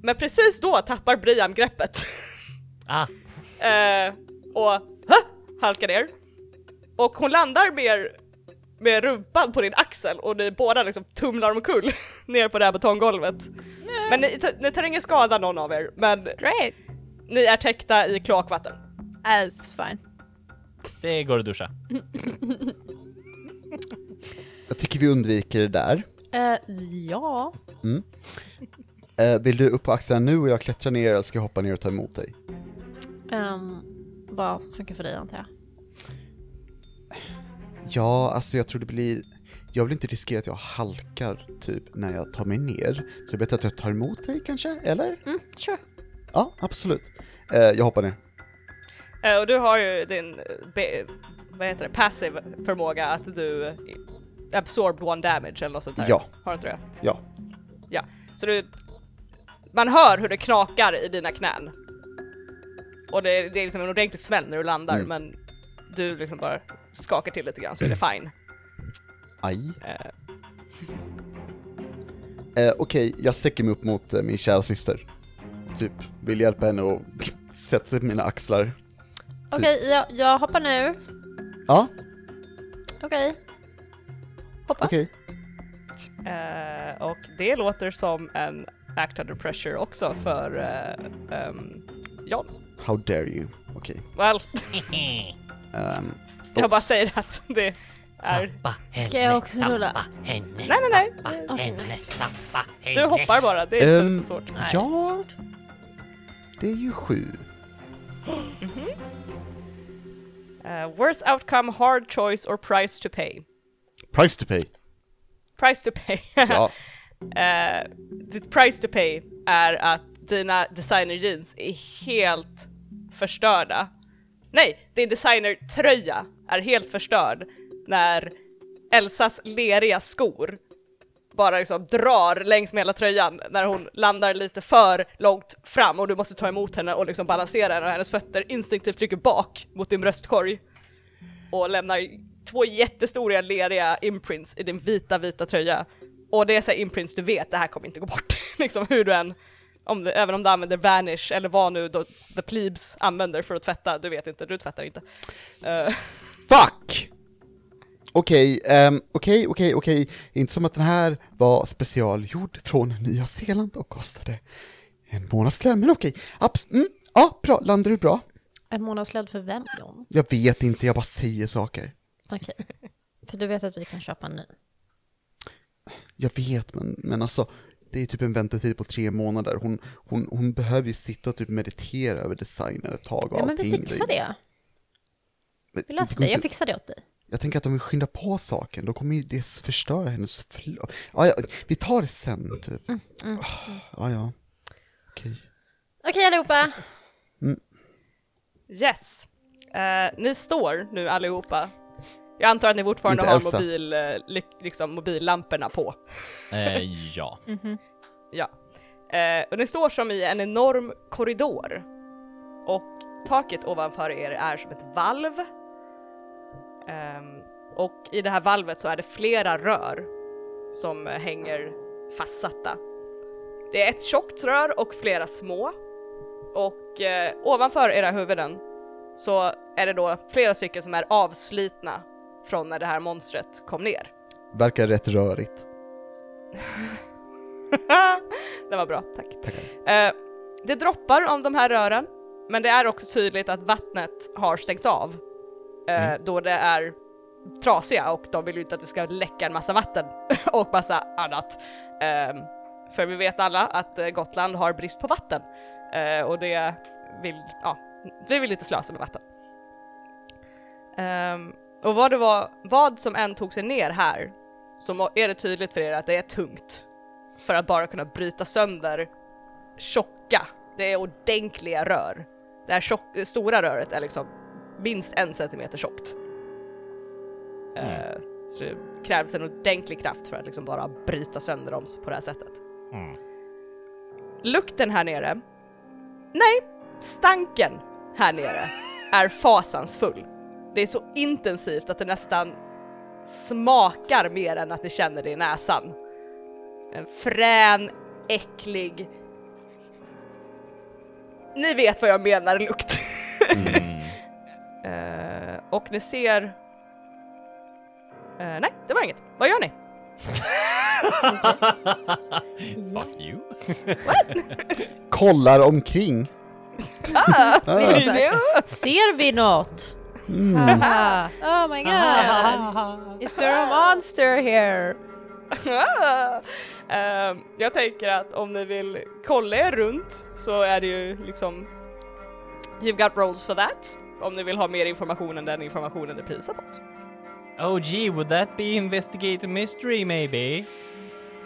Men precis då tappar Brian greppet.
Ah,
Eh, och "Hä?" halkar ner. Och hon landar mer med rumpan på din axel och ni båda liksom tumlar omkull ner på det här betonggolvet. Men ni, ta- ni tar ingen skada någon av er, men
Great.
ni är täckta i kloakvatten.
That's fine.
det går att duscha.
Jag tycker vi undviker det där.
Eh, ja.
Eh, vill du upp på axlarna nu och jag klättrar ner eller ska jag hoppa ner och ta emot dig?
Ehm, vad som funkar för dig antar jag.
Ja, alltså jag tror det blir... Jag vill inte riskera att jag halkar typ när jag tar mig ner. Så det är bättre att jag tar emot dig kanske, eller?
Mm, sure.
Ja, absolut. Eh, jag hoppar ner.
Eh, och du har ju din eh, be, vad heter det, passive förmåga att du eh, absorb one damage eller något sånt där.
Ja.
Har du inte det?
Ja.
Ja. Så du, man hör hur det knakar i dina knän. Och det, det är liksom en ordentlig smäll när du landar
Mm.
men du liksom bara skakar till lite grann så är det fine.
Aj.
Eh,
Eh, Okej, jag sträcker mig upp mot eh, min kära syster. Typ, vill hjälpa henne och sätta sig på mina axlar.
Okej, jag, jag hoppar nu.
Ja,
Okej.
hoppa.
Okej.
Eh, och det låter som en act under pressure också för eh, ehm, John.
How dare you? Okej.
Well,
Ehm,
jag bara
oops.
säger att det är...
Tappa henne,
Ska jag också
tappa
rulla?
Henne,
Nej, nej, nej.
tappa
Okej.
henne, tappa henne.
Du hoppar bara, det är inte
Ehm,
så svårt.
Ja, det är ju sju.
Eh, worse outcome, hard choice or price to pay.
Price to pay.
Price to pay.
Ja.
Eh, ditt price to pay är att dina designer jeans är helt förstörda. Nej, din designertröja är helt förstörd när Elsas leriga skor bara liksom drar längs med hela tröjan när hon landar lite för långt fram och du måste ta emot henne och liksom balansera henne och hennes fötter instinktivt trycker bak mot din bröstkorg och lämnar två jättestora leriga imprints i din vita, vita tröja. Och det är så här imprints du vet, det här kommer inte gå bort. liksom hur du än, om, du- även om du använder vanish eller vad nu då, the plebes använder för att tvätta, du vet inte, du tvättar inte. Eh,
Fuck! Okej, ehm, okej, okej, okej. Inte som att den här var specialgjord från Nya Zeeland och kostade en månadslön, men okej. Abs- mm, ja, bra. Landar du bra?
En månadslön för vem John?
Jag vet inte, jag bara säger saker.
Okej. För du vet att vi kan köpa en ny.
Jag vet, men, men alltså, det är typ en väntetid på tre månader. Hon, hon, hon behöver ju sitta och typ meditera över designen ett tag och
Ja men
allting.
vi fixar det.
Men
Vi löser
går
det. Jag
inte-
fixar det åt dig.
Jag tänker att om vi skyndar på saken, då kommer ju det förstöra hennes flöde. Ja, ja, vi tar det sen, typ. Ja, ja. Okej.
Okej allihopa.
yes. Eh, ni står nu allihopa. Jag antar att ni fortfarande
Inte
har
Elsa.
mobil, eh, ly- liksom, mobillamporna på.
Eh, ja.
Mm, Ja. Eh, och ni står som i en enorm korridor. Och taket ovanför er är som ett valv. Ehm, och i det här valvet så är det flera rör som eh, hänger fastsatta. Det är ett tjockt rör och flera små. Och eh, ovanför era huvuden så är det då flera stycken som är avslitna från när det här monstret kom ner.
Verkar rätt rörigt.
det var bra, tack. Eh, det droppar om de här rören, men det är också tydligt att vattnet har stängt av eh, då det är trasiga och de vill ju inte att det ska läcka en massa vatten och massa annat. Ehm, för vi vet alla att eh, Gotland har brist på vatten eh, och det vill, ja, vi vill inte slösa med vatten. Ehm, och vad det var, vad som än tog sig ner här så är det tydligt för er att det är tungt för att bara kunna bryta sönder tjocka, det är ordentliga rör. Det här tjock, det stora röret är liksom minst en centimeter tjockt. Eh, så det krävs en ordentlig kraft för att liksom bara bryta sönder dem på det här sättet.
Mm.
Lukten här nere, nej, stanken här nere är fasansfull. Det är så intensivt att det nästan smakar mer än att ni känner det i näsan. En Eh, frän, äcklig... Ni vet vad jag menar lukt. Eh, och ni ser... Eh, nej, det var inget. Vad gör ni?
Fuck you.
Kollar omkring.
Vi är så här,
Ja.
Ser vi något? Ah,
Oh my god! Is there a monster here?
Ah. Ehm, jag tänker att om ni vill kolla er runt så är det ju liksom You've got rolls for that. Om ni vill ha mer information än den informationen ni precis har fått.
Oh gee, would that be investigate a mystery maybe?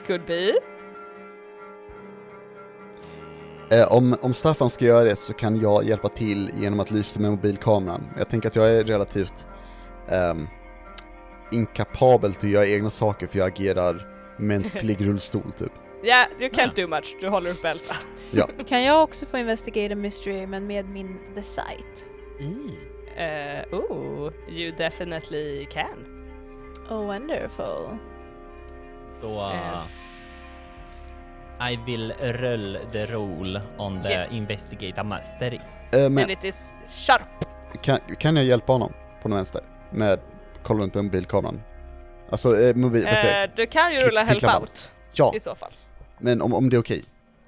Could be.
Eh, om, om Staffan ska göra det så kan jag hjälpa till genom att lysa med mobilkameran. Jag tänker att jag är relativt ehm, inkapabel till att göra egna saker för jag agerar mänsklig rullstol, typ.
Yeah, you can't do much. Du håller upp Elsa.
Kan jag också få investigate a mystery men med min the sight?
Mm. Uh, oh, you definitely can.
Oh wonderful.
Då...
Eh.
I will roll the roll on the
Yes.
investigate a mystery.
Eh,
And
men
it is sharp.
kan, kan jag hjälpa honom på någon vänster? Med kolla runt med mobilkameran? Alltså, eh, mobil, vad säger jag?
Eh, du kan ju rulla
Klick-
help
klicklamma.
out
Ja,
i så fall.
men om, om det är okej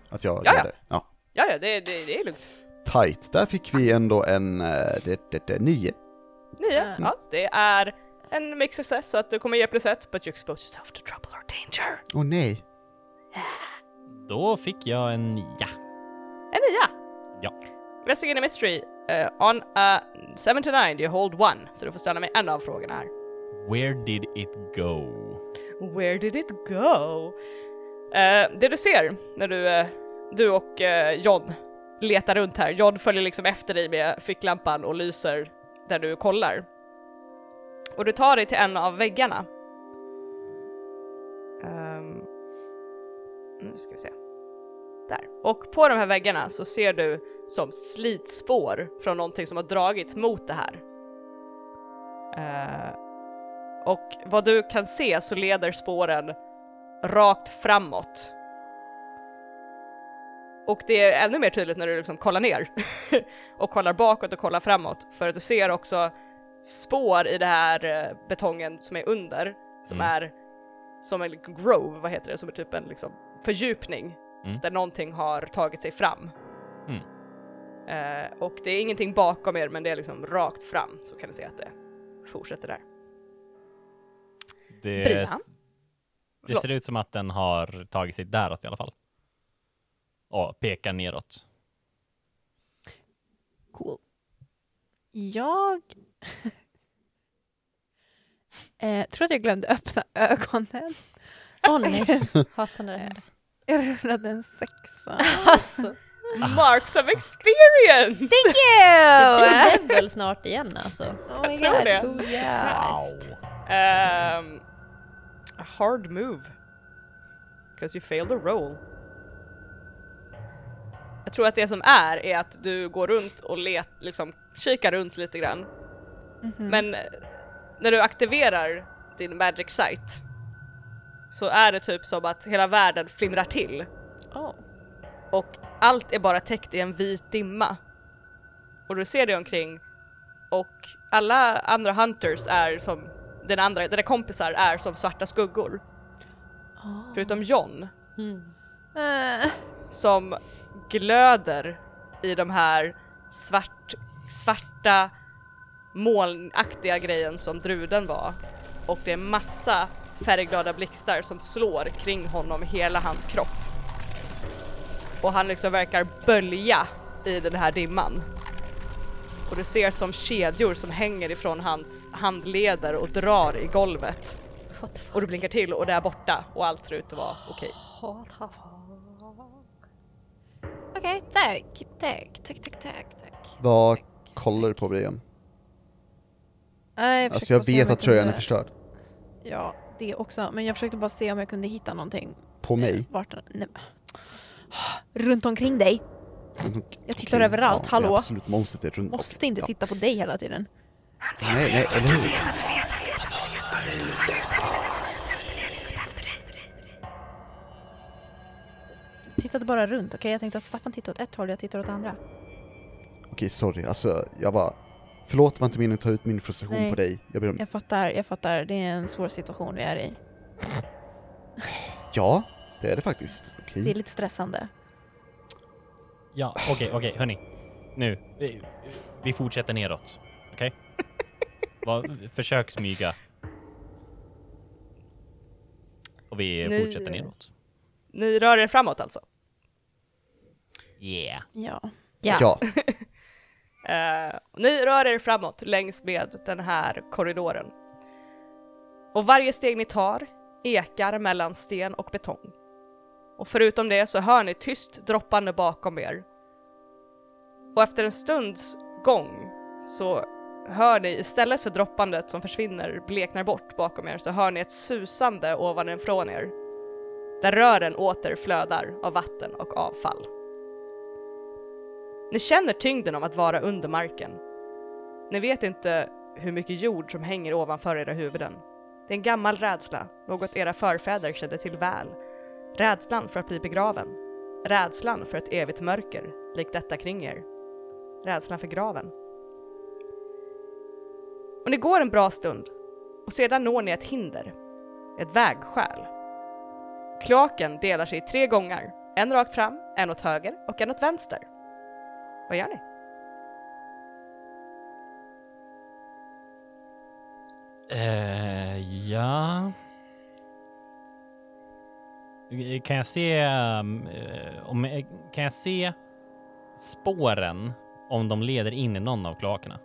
att jag
Ja,
gör
ja.
det? Ja.
Ja, ja, det, det, det är lugnt.
Tight. Där fick vi ändå en, eh, det, det, det, nio.
Nio,
Mm.
ja, det är en mixed success så att du kommer ge plus ett, but you expose yourself to trouble or danger.
Åh oh, nej.
Då fick jag en ja.
En nia!
Ja.
Investigate a mystery. eh, on a 79 you hold one, så du får ställa mig en av frågorna här.
Where did it go?
Where did it go? Eh, det du ser när du, eh, du och eh, John letar runt här, John följer liksom efter dig med ficklampan och lyser där du kollar. Och du tar dig till en av väggarna. Ehm, nu ska vi se. Där. Och på de här väggarna så ser du som slitspår från någonting som har dragits mot det här. Eh, och vad du kan se så leder spåren rakt framåt. Och det är ännu mer tydligt när du liksom kollar ner och kollar bakåt och kollar framåt för att du ser också spår i det här eh, betongen som är under som
Mm.
är som en liten grove, vad heter det, som är typ en liksom fördjupning
Mm.
där någonting har tagit sig fram.
Mm.
Eh, och det är ingenting bakom er men det är liksom rakt fram så kan ni se att det fortsätter där.
Det,
Brina?
det
Förlåt.
ser ut som att den har tagit sig däråt i alla fall. Och pekar neråt.
Cool. Jag eh, tror att jag glömde öppna ögonen.
Åh nej, hatar när det händer.
Jag rullade en sexa.
Alltså,
Marks of experience!
det
Ew!
blir väl snart igen alltså.
Oh my
tror
god,
det.
who yes?
Ehm, a hard move. Because you failed a roll. Jag tror att det som är, är att du går runt och let, liksom kikar runt lite grann. Men eh, när du aktiverar din magic sight så är det typ som att hela världen flimrar till
Oh.
och allt är bara täckt i en vit dimma. Och du ser dig omkring och alla andra hunters är som, den andra, dina kompisar är som svarta skuggor. Förutom John
Eh,
som glöder i de här svart, svarta molnaktiga grejen som druden var. Och det är massa färgglada blixtar som slår kring honom hela hans kropp. Och han liksom verkar bölja i den här dimman. Och du ser som kedjor som hänger ifrån hans handleder och drar i golvet.
What the fuck?
Och du blinkar till och där borta och allt ser ut att vara okej.
Okej, tack, tack, tack, tack, tack, tack.
Vad kollar du på Brian?
Eh, jag
Alltså
försökte
jag
bara se om
vet att tröjan är
kunde-
förstörd.
Ja, det också. Men jag försökte bara se om jag kunde hitta någonting. Eh,
På mig.
Vart, nej. Runt omkring dig. Jag tittar
Okej, ja,
överallt,
Det
hallå?
är absolut monstret är runt
Måste inte
ja.
titta på dig hela tiden.
Nej, nej, eller hur?
Jag tittade bara runt, okej? Jag tänkte att Staffan tittar åt ett håll, jag tittar åt andra.
Okej, sorry. Alltså, jag bara... Förlåt, det var inte meningen att ta ut min frustration
Nej.
på dig. Jag ber om...
Jag fattar, jag fattar. Det är en svår situation vi är i.
Ja, det är det faktiskt. Okej.
Det är lite stressande.
Ja, okej, okej, hörni. Nu, vi, vi fortsätter neråt. Okej? Vad- Försök smyga. Och vi
Nej.
fortsätter neråt.
Ni rör er framåt alltså?
Yeah.
Ja.
Ja.
Ja,
Eh, ni rör er framåt längs med den här korridoren. Och varje steg ni tar ekar mellan sten och betong. Och förutom det så hör ni tyst droppande bakom er. Och efter en stunds gång så hör ni istället för droppandet som försvinner, bleknar bort bakom er, så hör ni ett susande ovanifrån er. Där rören åter flödar av vatten och avfall. Ni känner tyngden av att vara under marken. Ni vet inte hur mycket jord som hänger ovanför era huvuden. Det är en gammal rädsla, något era förfäder kände till väl. Rädslan för att bli begraven. Rädslan för ett evigt mörker, likt detta kring er. Rädslan för graven. Och ni går en bra stund och sedan når ni ett hinder. ett vägskäl. Kloaken delar sig i tre gångar, en rakt fram, en åt höger och en åt vänster. Vad gör ni?
Eh, ja. Eh, Kan jag se... eh, om, eh, kan jag se spåren om de leder in i någon av kloakerna?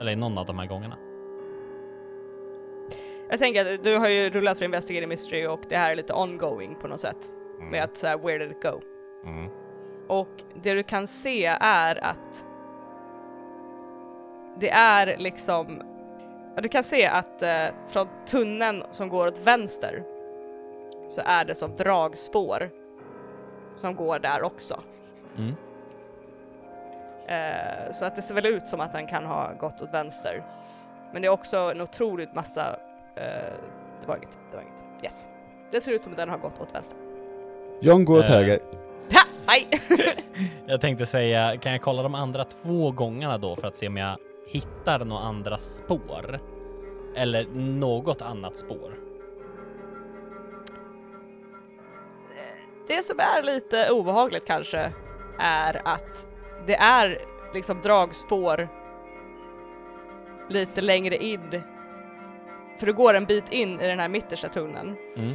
Eller i någon av de här gångarna?
Jag tänker att du har ju rullat för Investigating Mystery och det här är lite ongoing på något sätt. Med att så här, where did it go?
Mm.
Och det du kan se är att det är liksom, ja, du kan se att eh, från tunneln som går åt vänster så är det som dragspår som går där också.
Mm.
Eh, så att det ser väl ut som att den kan ha gått åt vänster. Men det är också en otroligt massa, eh, det var inget, det var inget, yes. Det ser ut som att den har gått åt vänster.
John går åt
Eh.
höger.
Ha! Aj!
Jag tänkte säga, kan jag kolla de andra två gångarna då för att se om jag hittar några andra spår? Eller något annat spår?
Det som är lite obehagligt kanske är att det är liksom dragspår lite längre in. För du går en bit in i den här mittersta tunneln.
Mm.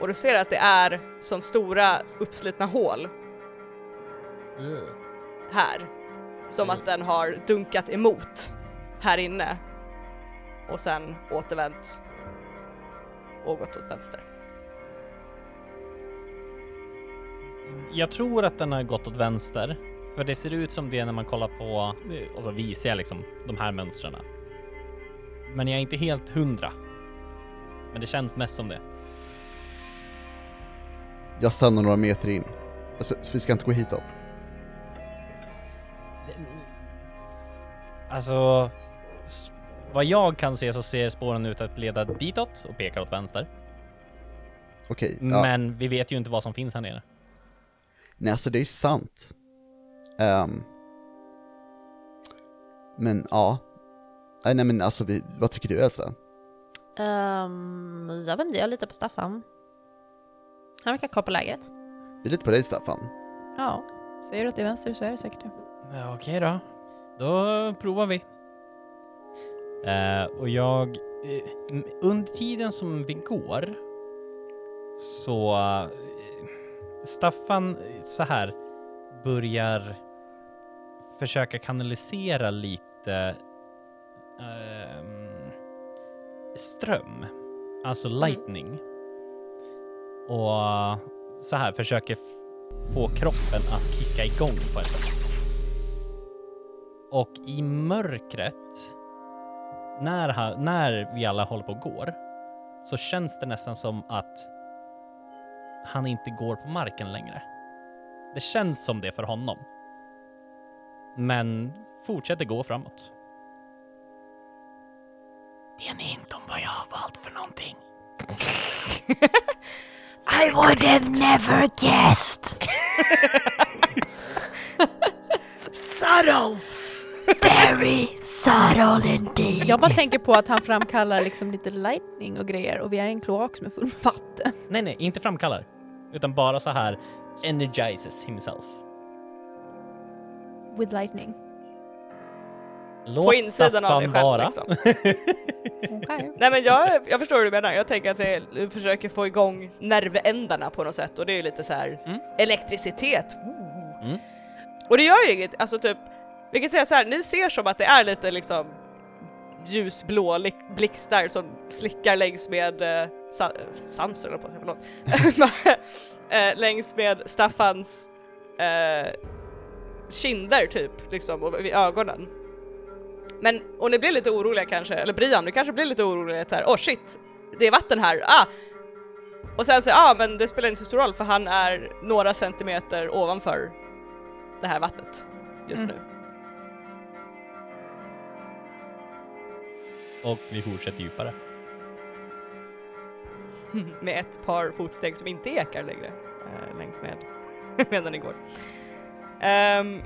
Och du ser att det är som stora uppslitna hål här. Som att den har dunkat emot här inne. Och sen återvänt och gått åt vänster.
Jag tror att den har gått åt vänster, för det ser ut som det när man kollar på, och så visar jag liksom de här mönstren. Men jag är inte helt hundra. Men det känns mest som det.
Jag stannar några meter in. Alltså, så vi ska inte gå hitåt.
Alltså, s- vad jag kan se så ser spåren ut att leda ditåt och pekar åt vänster.
Okej,
Mm.
ja.
Men vi vet ju inte vad som finns här nere.
Nej, alltså det är sant. Ehm. men ja. Nej, nej men alltså, vi, vad tycker du Elsa?
Ehm, jag vet inte, jag litar på Staffan. Han verkar ha koll på läget.
Vi litar på dig Staffan.
Ja, säger du att det är vänster så är det säkert det.
Ja, Okej då. Då provar vi. Eh, och jag... eh, m- under tiden som vi går så... eh, Staffan eh, så här börjar försöka kanalisera lite ehm, ström, alltså lightning. Och så här försöker f- få kroppen att kicka igång på ett sätt. Och i mörkret, när, ha- när vi alla håller på och går, så känns det nästan som att han inte går på marken längre. Det känns som det för honom. Men fortsätter gå framåt. Det är en hint om vad jag har valt för någonting.
I would have never guessed. subtle. Very subtle indeed.
Jag bara tänker på att han framkallar liksom lite lightning och grejer och vi är i en kloak som är full med vatten.
Nej, nej, inte framkallar. Utan bara så här energizes himself.
With lightning.
Låt
På insidan av dig
Staffan
själv
vara.
liksom.
Okej.
Nej men jag, jag förstår hur du menar, jag tänker att det- du försöker få igång nervändarna på något sätt och det är ju lite så här
Mm.
elektricitet.
Mm.
Och det gör ju inget, alltså typ, vi kan säga så här, ni ser som att det är lite liksom ljusblå lik- blixtar som slickar längs med eh, sa- eh, Sanser höll jag på att säga, förlåt. eh, längs med Staffans eh, kinder typ, liksom, och vid ögonen. Men, och ni blir lite oroliga kanske, eller Brian, du kanske blir lite orolig att så här, åh oh, shit, det är vatten här, ah! Och sen säger ah men det spelar inte så stor roll för han är några centimeter ovanför det här vattnet just
Mm.
nu.
Och vi fortsätter djupare.
Med ett par fotsteg som inte ekar längre eh, längs med medan ni går. Ehm,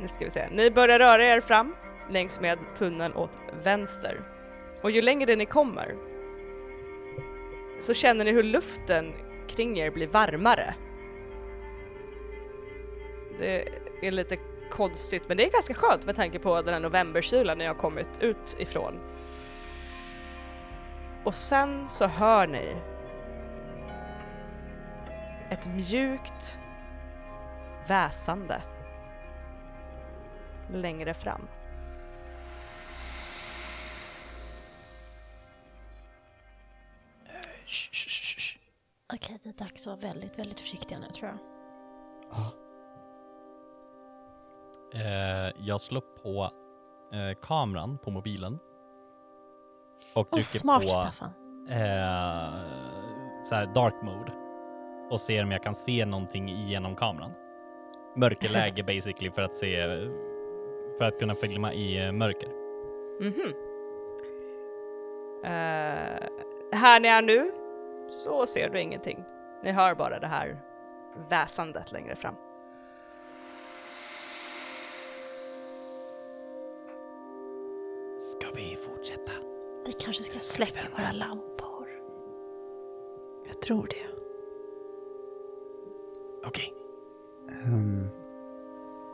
nu ska vi se, ni börjar röra er fram längs med tunneln åt vänster. Och ju längre ni kommer så känner ni hur luften kring er blir varmare. Det är lite konstigt men det är ganska skönt med tanke på den här novemberkylan ni har kommit ut ifrån. Och sen så hör ni ett mjukt väsande längre fram.
Okej, det är dags att vara väldigt, väldigt försiktiga nu tror jag.
Eh, jag slår på eh, kameran på mobilen. Och
Åh,
trycker
smart
på
Staffan.
eh, så här dark mode. Och ser om jag kan se någonting genom kameran. Mörkerläge basically för att se för att kunna filma i eh, mörker.
Mhm. Eh, här ni är nu så ser du ingenting. Ni hör bara det här väsandet längre fram.
Ska vi fortsätta?
Vi kanske ska släcka våra lampor.
Jag tror det.
Okej.
Ehm,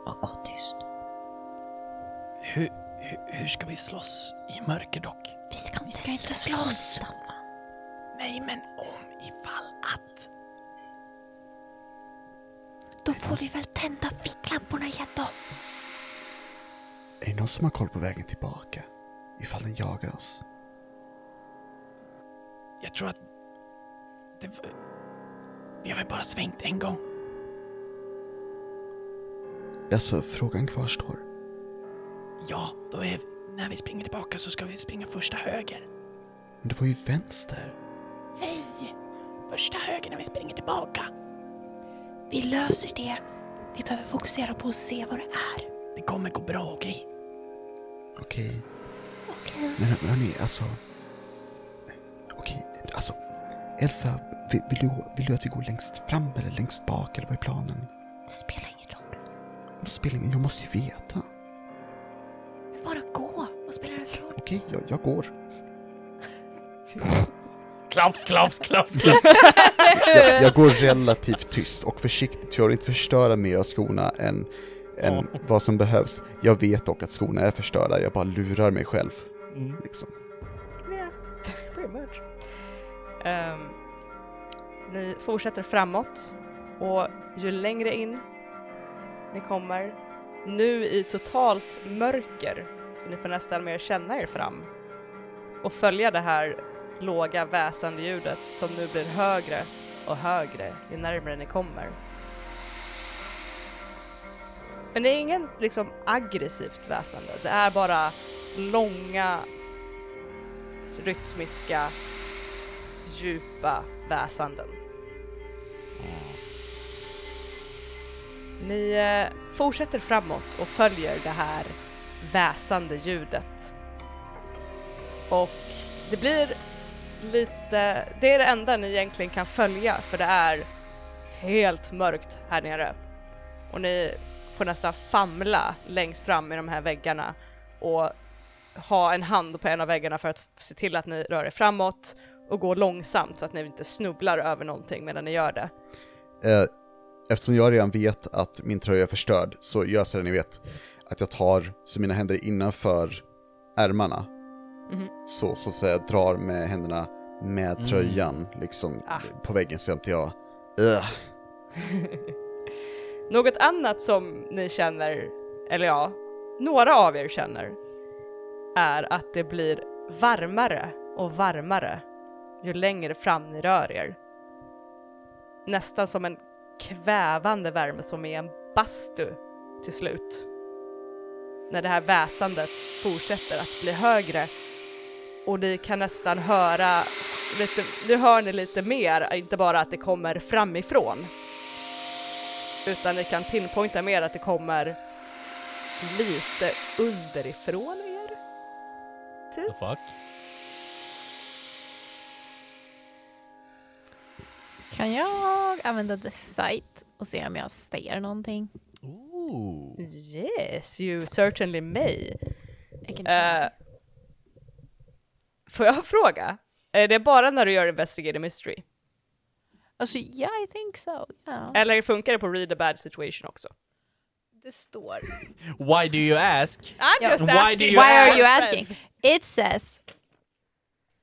Och gå tyst.
Hur, hur, hur ska vi slåss i mörker dock?
Vi ska inte, slåss. Staffan.
Nej, men om ifall att.
Då får vi väl tända ficklamporna igen då.
är det någon som har koll på vägen tillbaka? Ifall den jagar oss.
Jag tror att... Det, var- vi har väl bara svängt en gång.
Alltså, frågan kvarstår.
Ja, då är... När vi springer tillbaka så ska vi springa första höger.
Men det var ju vänster.
Nej! Första höger när vi springer tillbaka.
Vi löser det. Vi behöver fokusera på att se vad det är.
Det kommer gå bra, okej?
Okej.
Okej.
Men hörni, alltså... Okej, alltså... Elsa, vill, vill, du, vill du att vi går längst fram eller längst bak eller vad är planen?
Det spelar ingen roll.
Det spelar ingen jag måste ju veta.
Bara gå. Vad spelar det för roll?
Okej, jag, jag går.
Klaps, klaps, klaps, klaps!
Jag, jag går relativt tyst och försiktigt för jag vill inte förstöra mer av skorna än, än vad som behövs. Jag vet dock att skorna är förstörda, jag bara lurar mig själv.
Mm.
Liksom.
Yeah, pretty much. Ehm, ni fortsätter framåt och ju längre in ni kommer, nu i totalt mörker, så ni får nästan mer känna er fram och följa det här låga väsande ljudet som nu blir högre och högre ju närmare ni kommer. Men det är ingen liksom aggressivt väsande, det är bara långa rytmiska, djupa väsanden. Ni eh, fortsätter framåt och följer det här väsande ljudet. Och det blir lite, det är det enda ni egentligen kan följa för det är helt mörkt här nere. Och ni får nästan famla längst fram i de här väggarna och ha en hand på en av väggarna för att se till att ni rör er framåt och går långsamt så att ni inte snubblar över någonting medan ni gör det.
Eh, Eftersom jag redan vet att min tröja är förstörd så gör jag så här, ni vet att jag tar så mina händer är innanför ärmarna.
Mhm.
Så, så att säga drar med händerna med
Mm.
tröjan liksom
Ah.
på väggen så att inte jag... Ugh.
Något annat som ni känner, eller ja, några av er känner, är att det blir varmare och varmare ju längre fram ni rör er. Nästan som en kvävande värme som är en bastu till slut. När det här väsandet fortsätter att bli högre och ni kan nästan höra lite, nu hör ni lite mer, inte bara att det kommer framifrån utan ni kan pinpointa mer att det kommer lite underifrån er.
The fuck?
Kan jag använda the sight och se om jag ser någonting?
Ooh.
Eh. Yes, you certainly may.
Jag kan
Eh, Får jag fråga? Är det bara när du gör Investigate a Mystery?
Alltså, yeah I think so. Yeah.
Eller funkar det på Read a Bad Situation också?
Det står.
Why do you ask?
I'm
Ja.
just
Why
asking.
do you
Why are you asking? It says,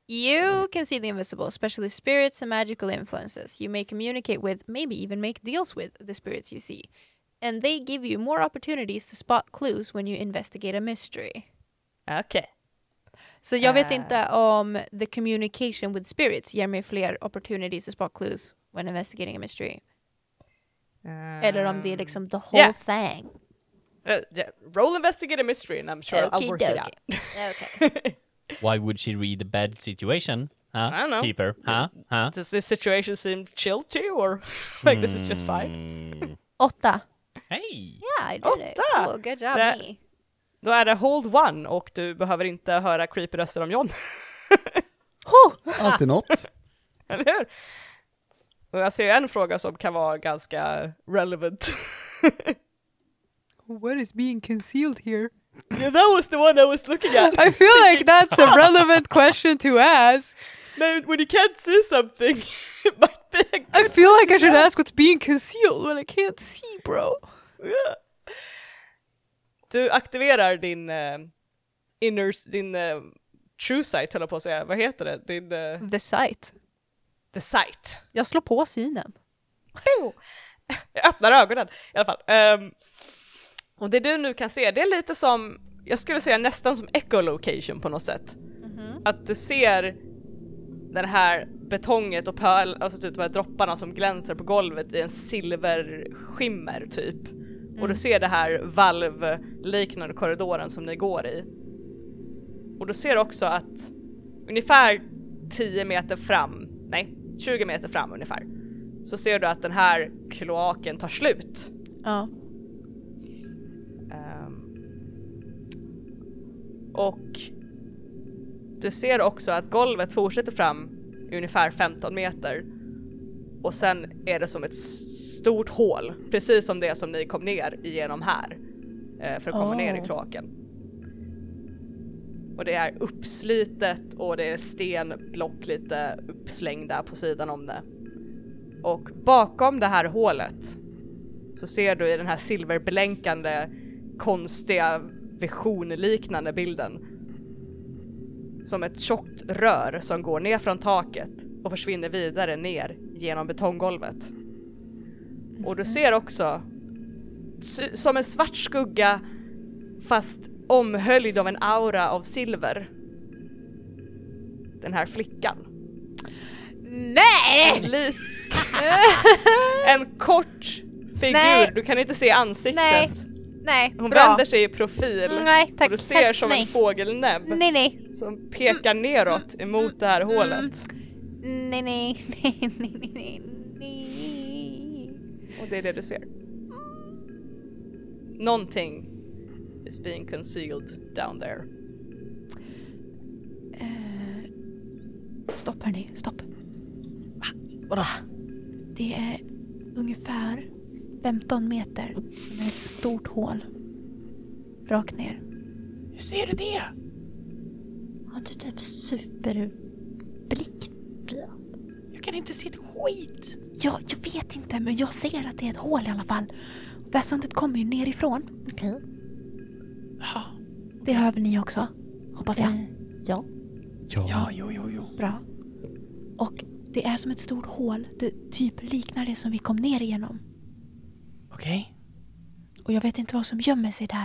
you can see the invisible, especially spirits and magical influences. You may communicate with, maybe even make deals with the spirits you see. And they give you more opportunities to spot clues when you investigate a mystery.
Okej.
Så jag vet
Ah.
inte om the communication with spirits ger mig fler opportunities to spot clues when investigating a mystery. Eller om det är liksom the whole
yeah.
thing.
Uh, yeah. Roll Investigate a Mystery and I'm sure I'll work it
Okey-dokey.
out.
Okay.
Why would she read a bad situation? Huh?
I don't know.
Keeper? Huh? Huh?
Does this situation seem chill to you or like this is just fine?
Mm.
Åtta.
Hej!
Yeah, I did it.
Åtta.
Cool, good job
Det-
me.
Då är det Hold One och du behöver inte höra creepy röster om John.
Alltid något.
Eller hur? Och jag ser en fråga som kan vara ganska relevant.
What is being concealed here?
yeah, that was the one I was looking at.
I feel like that's a relevant question to ask.
Man, when you can't see something, it might be a
I feel like I should ask what's being concealed when I can't see, bro.
Du aktiverar din eh, inner, din eh, true sight höll jag på att säga, vad heter det? Din, eh,
The sight.
the sight.
Jag slår på synen.
Jag öppnar ögonen i alla fall. Ehm, och det du nu kan se, det är lite som, jag skulle säga nästan som echolocation på något sätt. Att du ser den här betonget och pöl, alltså typ de här dropparna som glänser på golvet i en silverskimmer typ. Och du ser det här valvliknande korridoren som ni går i. Och du ser också att ungefär 10 meter fram, nej 20 meter fram ungefär, så ser du att den här kloaken tar slut.
Ja.
Ehm. och du ser också att golvet fortsätter fram i ungefär 15 meter och sen är det som ett s- stort hål, precis som det som ni kom ner igenom här eh, för att komma ner i
Oh.
kloaken. Och det är uppslitet och det är stenblock lite uppslängda på sidan om det. Och bakom det här hålet så ser du i den här silverblänkande konstiga visionliknande bilden som ett tjockt rör som går ner från taket och försvinner vidare ner genom betonggolvet. Och du
Mhm.
ser också sy- som en svart skugga fast omhöljd av en aura av silver. Den här flickan.
Nej!
Lite en kort figur,
Nej.
du kan inte se ansiktet.
Nej. Nej,
Hon
bra. Mm.
vänder sig i profil
Nej, tack.
och du ser
Helst
som
nej.
en fågelnäbb
Nej, nej.
som pekar
Mm.
neråt emot det här hålet.
Nej, nej. Nej, nej, nej, nej, nej.
Och det är det du ser. Någonting is being concealed down there.
Eh, Stopp hörni, stopp. Va? Vadå? Det är ungefär 15 meter. Sen är det ett stort hål. Rakt ner.
Hur ser du det?
Har du typ superblick?
Jag kan inte se ett skit.
Ja, jag vet inte men jag ser att det är ett hål i alla fall. Väsendet kommer ju nerifrån. Okej. Det hör väl ni också? Hoppas
Eh,
Mm.
jag.
Ja.
jo, jo, jo.
Bra. Och det är som ett stort hål. Det typ liknar det som vi kom ner igenom.
Okej.
Och jag vet inte vad som gömmer sig där.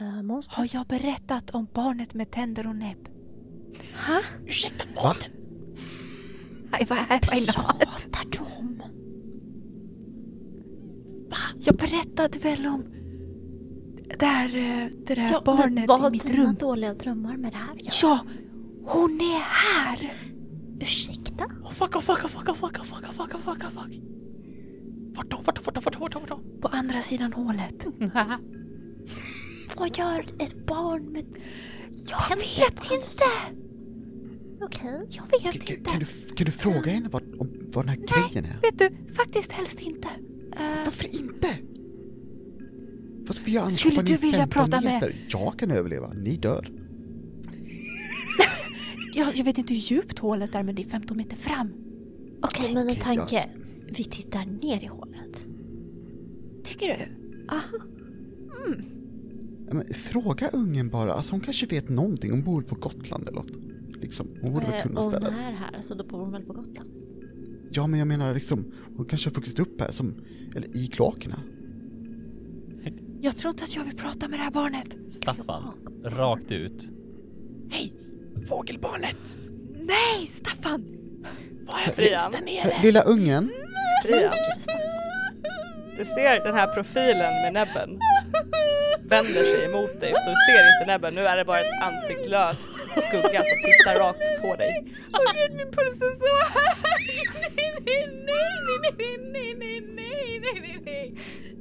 eh,
Uh, monster.
Har jag berättat om barnet med tänder och näbb?
Ursäkta,
Va?
I, I, I not.
Pratar du om?
Jag berättade väl om där, eh, det där
Ja, men
barnet
vad
i
har
mitt
dina
rum.
dåliga drömmar med det här att göra?
Ja, hon är här!
Ursäkta?
Oh, fuck, oh, fuck, oh, fuck, oh, fuck, oh, fuck, oh, fuck, oh, fuck, oh, fuck. Vart då, vart då, vart då, vart då, vart då, vart då?
På andra sidan hålet.
Mm, Vad gör ett barn med...
Jag vet inte!
Okej.
Jag vet
Kan,
inte.
kan, du, kan du fråga henne vad, om, vad den här grejen är?
Vet du, faktiskt helst inte. Eh,
Varför inte? Vad ska vi göra annars?
Skulle
Hoppa
du
ner
vilja
15
prata med-
meter? Jag kan överleva, ni dör.
Jag, jag vet inte hur djupt hålet är men det är 15 meter fram.
Okej, men en
Okej, jag-
tanke. Vi tittar ner i hålet.
Tycker du?
Ja, Men, fråga ungen bara, alltså hon kanske vet någonting, hon bor på Gotland eller något. Liksom, hon borde väl
Eh,
kunna
och hon
stället.
är här, så då bor hon väl på Gotland?
Ja men jag menar liksom, hon kanske har vuxit upp här som, eller i kloakerna.
Jag tror inte att jag vill prata med det här barnet.
Staffan, rakt ut.
Hej! Fågelbarnet! Nej, Staffan! Var jag
Brian.
Eh,
finns där nere?
Lilla ungen,
Brian, du ser den här profilen med näbben vänder sig emot dig så du ser inte näbben, nu är det bara ett ansiktslöst skugga som tittar rakt på dig.
Åh gud, min puls är så hög! Nej, nej, nej, nej, nej, nej, nej, nej, nej, nej,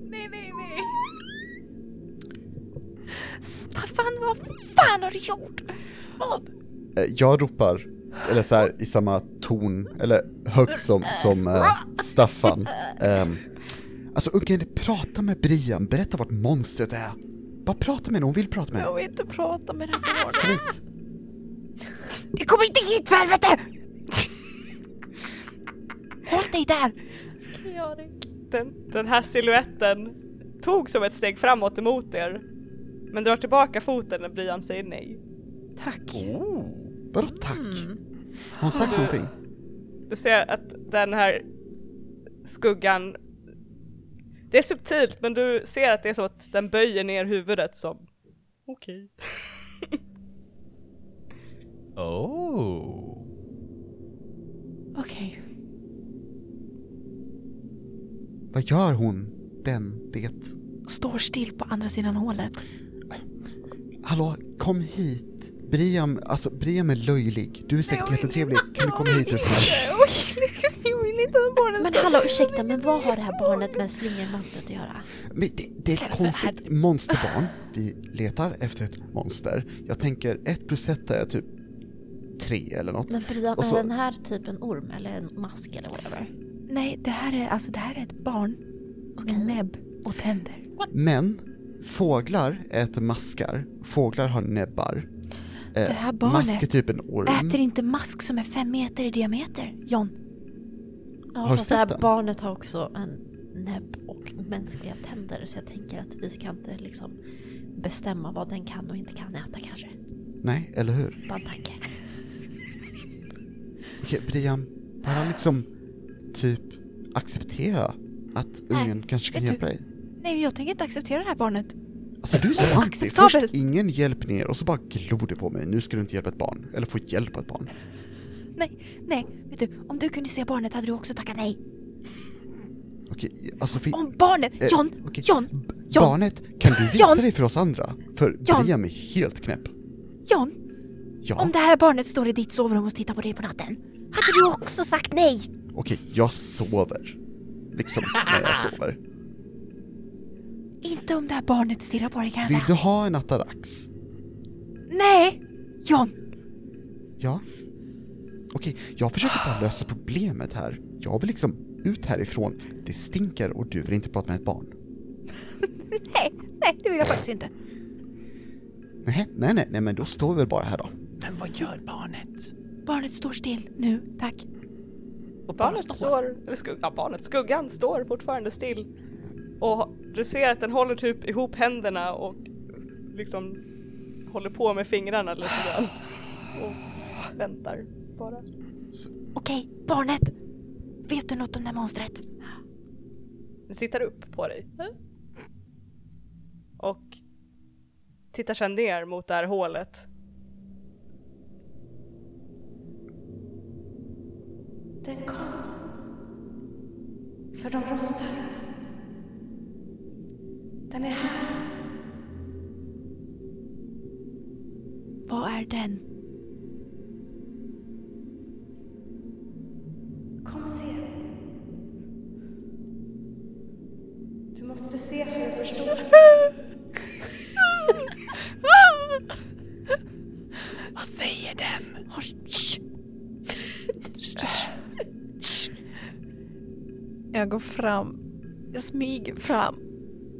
nej, nej, nej. Staffan, vad fan har du gjort? Vad?
eh, jag ropar, eller så här i samma ton, eller högt som, som eh, Staffan. Ehm, alltså ungen, prata med Brian, berätta vart monstret är. Bara prata med henne, hon vill prata med henne.
Jag vill inte prata med det här barnet.
Kom hit.
Kom inte hit för helvete! Håll dig där!
Den, den här siluetten tog som ett steg framåt emot er men drar tillbaka foten när Brian säger nej.
Tack.
Vadå tack? Har hon
Mm.
sagt någonting?
Du ser att den här skuggan det är subtilt men du ser att det är så att den böjer ner huvudet som okej.
Oh.
Okej.
Vad gör hon? Den, det?
Står still på andra sidan hålet.
Hallå, kom hit. Brian, alltså Brian är löjlig. Du är säkert jättetrevlig. Kan du komma hit? och så här?
Jag vill inte att barnen
Men hallå ursäkta, men vad har det här barnet med slingermonstret att göra?
Men det, det är ett konstigt monsterbarn. Vi letar efter ett monster. Jag tänker ett plus ett är typ tre eller något.
Men Brian,
Och
är
så-
den här typ en orm eller en mask eller whatever?
Nej, det här är, alltså, det här är ett barn med näbb och tänder.
Men fåglar äter maskar. Fåglar har näbbar. Eh,
Det här barnet
mask är typ en
Äter
orm.
inte mask som är fem meter i diameter, John.
Ja,
Har du
fast det
sett
här
den?
barnet har också en näbb och mänskliga tänder så jag tänker att vi ska inte liksom bestämma vad den kan och inte kan äta kanske.
Nej, eller hur?
Bara en tanke.
Okej, Brian, bara liksom typ acceptera att ungen kanske kan
vet du-
hjälpa dig.
Nej, jag tänker inte acceptera det här barnet.
Alltså du är så anti.
Oacceptabelt.
Först ingen hjälp ner och så bara glor du på mig. Nu ska du inte hjälpa ett barn. Eller få hjälp av ett barn.
Nej, vet du, om du kunde se barnet hade du också tackat nej.
Okej, alltså fin-
Om barnet,
eh,
John,
okej.
John,
B-
John,
Barnet, kan du visa
John.
dig för oss andra? För
John.
Brian är helt knäpp.
John,
Ja,
om det här barnet står i ditt sovrum och tittar på dig på natten, hade du också sagt nej?
okej, jag sover. Liksom när jag sover.
Inte om det här barnet stirrar på dig kan jag
Vill
säga.
du ha en atarax?
Nej! John,
Ja. Okej, jag försöker bara lösa problemet här. Jag vill liksom ut härifrån. Det stinker och du vill inte prata med ett barn.
nej, nej, det vill jag faktiskt inte.
Nej, nej, nej, nej men då står vi väl bara här då.
Men vad gör barnet?
Barnet står still nu, tack.
Och
Barnet står, eller skugg, ja, barnet, skuggan står fortfarande still. Och du ser att den håller typ ihop händerna och liksom håller på med fingrarna lite grann. Och väntar bara.
Okej, barnet. Vet du något om det här monstret?
Den tittar upp på dig. Och tittar sedan ner mot det här hålet.
Den kom. För de rostar. Den är här. Vad är den? Kom se. Du måste se för att förstå. Vad säger den?
Jag går fram. Jag smyger fram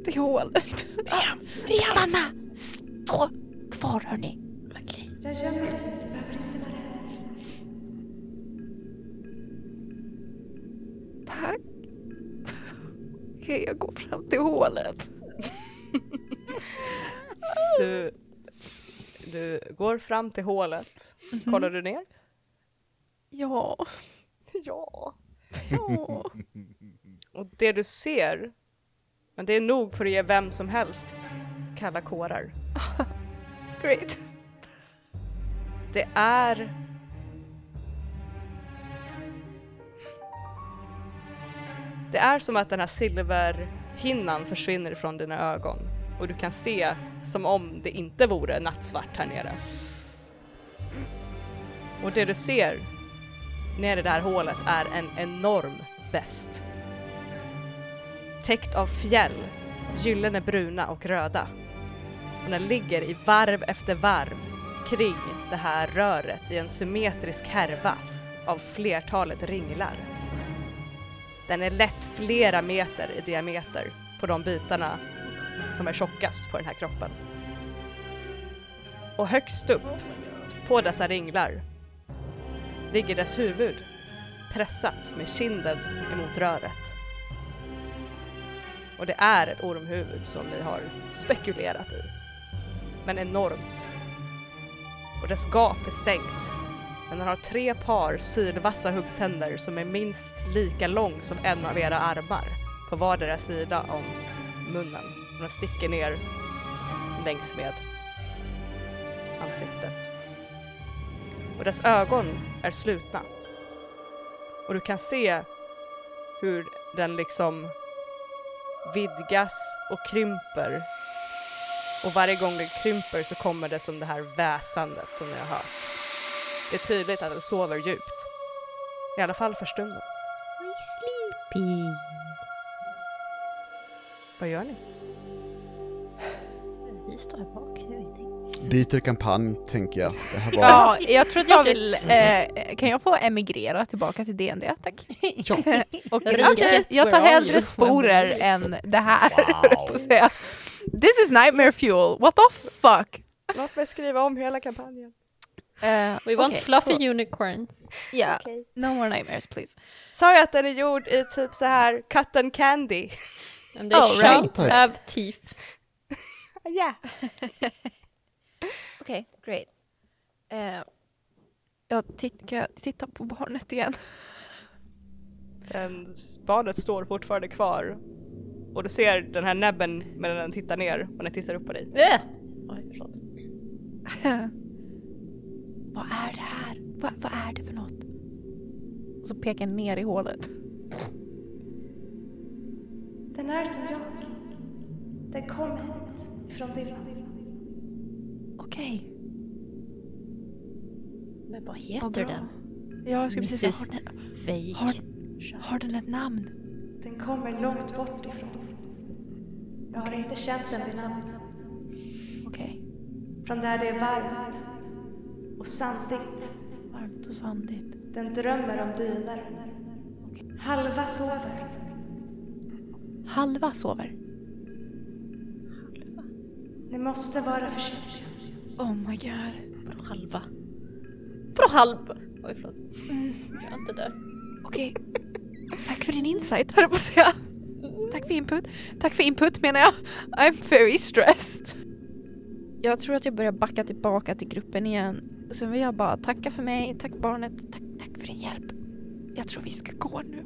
till hålet.
Stanna! Stå kvar hörni.
Okej.
Jag gömmer dig. Du behöver inte vara rädd.
Okej, jag går fram till hålet.
Du, du går fram till hålet. Kollar du ner?
Ja,
Ja.
ja.
Och det du ser, men det är nog för att ge vem som helst kalla kårar.
Great.
Det är... Det är som att den här silverhinnan försvinner från dina ögon och du kan se som om det inte vore nattsvart här nere. Och det du ser nere i det här hålet är en enorm best. Täckt av fjäll, gyllene bruna och röda. Och den ligger i varv efter varv kring det här röret i en symmetrisk härva av flertalet ringlar. Den är lätt flera meter i diameter på de bitarna som är tjockast på den här kroppen. Och högst upp på dessa ringlar ligger dess huvud pressat med kinden emot röret. Och det är ett ormhuvud som ni har spekulerat i. Men enormt och dess gap är stängt. Men den har tre par sylvassa huggtänder som är minst lika lång som en av era armar på vardera sida om munnen. Och den sticker ner längs med ansiktet. Och dess ögon är slutna. Och du kan se hur den liksom vidgas och krymper och varje gång det krymper så kommer det som det här väsandet som ni har hört. Det är tydligt att den sover djupt. I alla fall för stunden. Vad gör ni?
Vi står här bak, gör ingenting.
Byter kampanj, tänker jag. Det här var...
Ja, jag tror att jag vill... Eh, kan jag få emigrera tillbaka till DND? Tack.
Ja.
Och
Jag
riket.
riket.
Jag tar
We're all
hellre
just
sporer än det här. höll på att säga. This is nightmare fuel. What the fuck?
Låt mig skriva om hela kampanjen.
Eh,
We want
okej,
fluffy
cool.
unicorns.
Yeah.
Okej.
No more nightmares please.
Sa jag att den är gjord i typ så här cotton candy?
And they
Oh, right.
shan't
Right.
have teeth.
Ja.
Okej, great. Eh, jag titt, kan jag titta på barnet igen?
Den Barnet står fortfarande kvar. Och du ser den här näbben medan den tittar ner och den tittar upp på dig.
Yeah.
Oj, förlåt.
Vad är det här? Va, vad är det för något? Och så pekar jag ner i hålet.
Den är som jag. Den kom hit från Dillan.
Okej,
Men vad
vad
heter
bra.
den?
Ja, jag skulle precis
Mrs.
säga, har den,
Fake.
har, har den ett namn?
Den kommer långt bort ifrån. Jag har inte känt den vid namn.
Okej.
Från där det är varmt och sandigt.
Varmt och sandigt.
Den drömmer om dyner. Halva sover.
Halva sover.
Ni måste vara försiktiga.
Oh my god.
Vadå halva? Vadå halva? Oj, förlåt. Gör inte det.
Okej. Tack för din insight höll jag på att säga. Tack för input. Tack för input menar jag. I'm very stressed. Jag tror att jag börjar backa tillbaka till gruppen igen. Sen vill jag bara tacka för mig, tack barnet, tack, tack för din hjälp. Jag tror vi ska gå nu.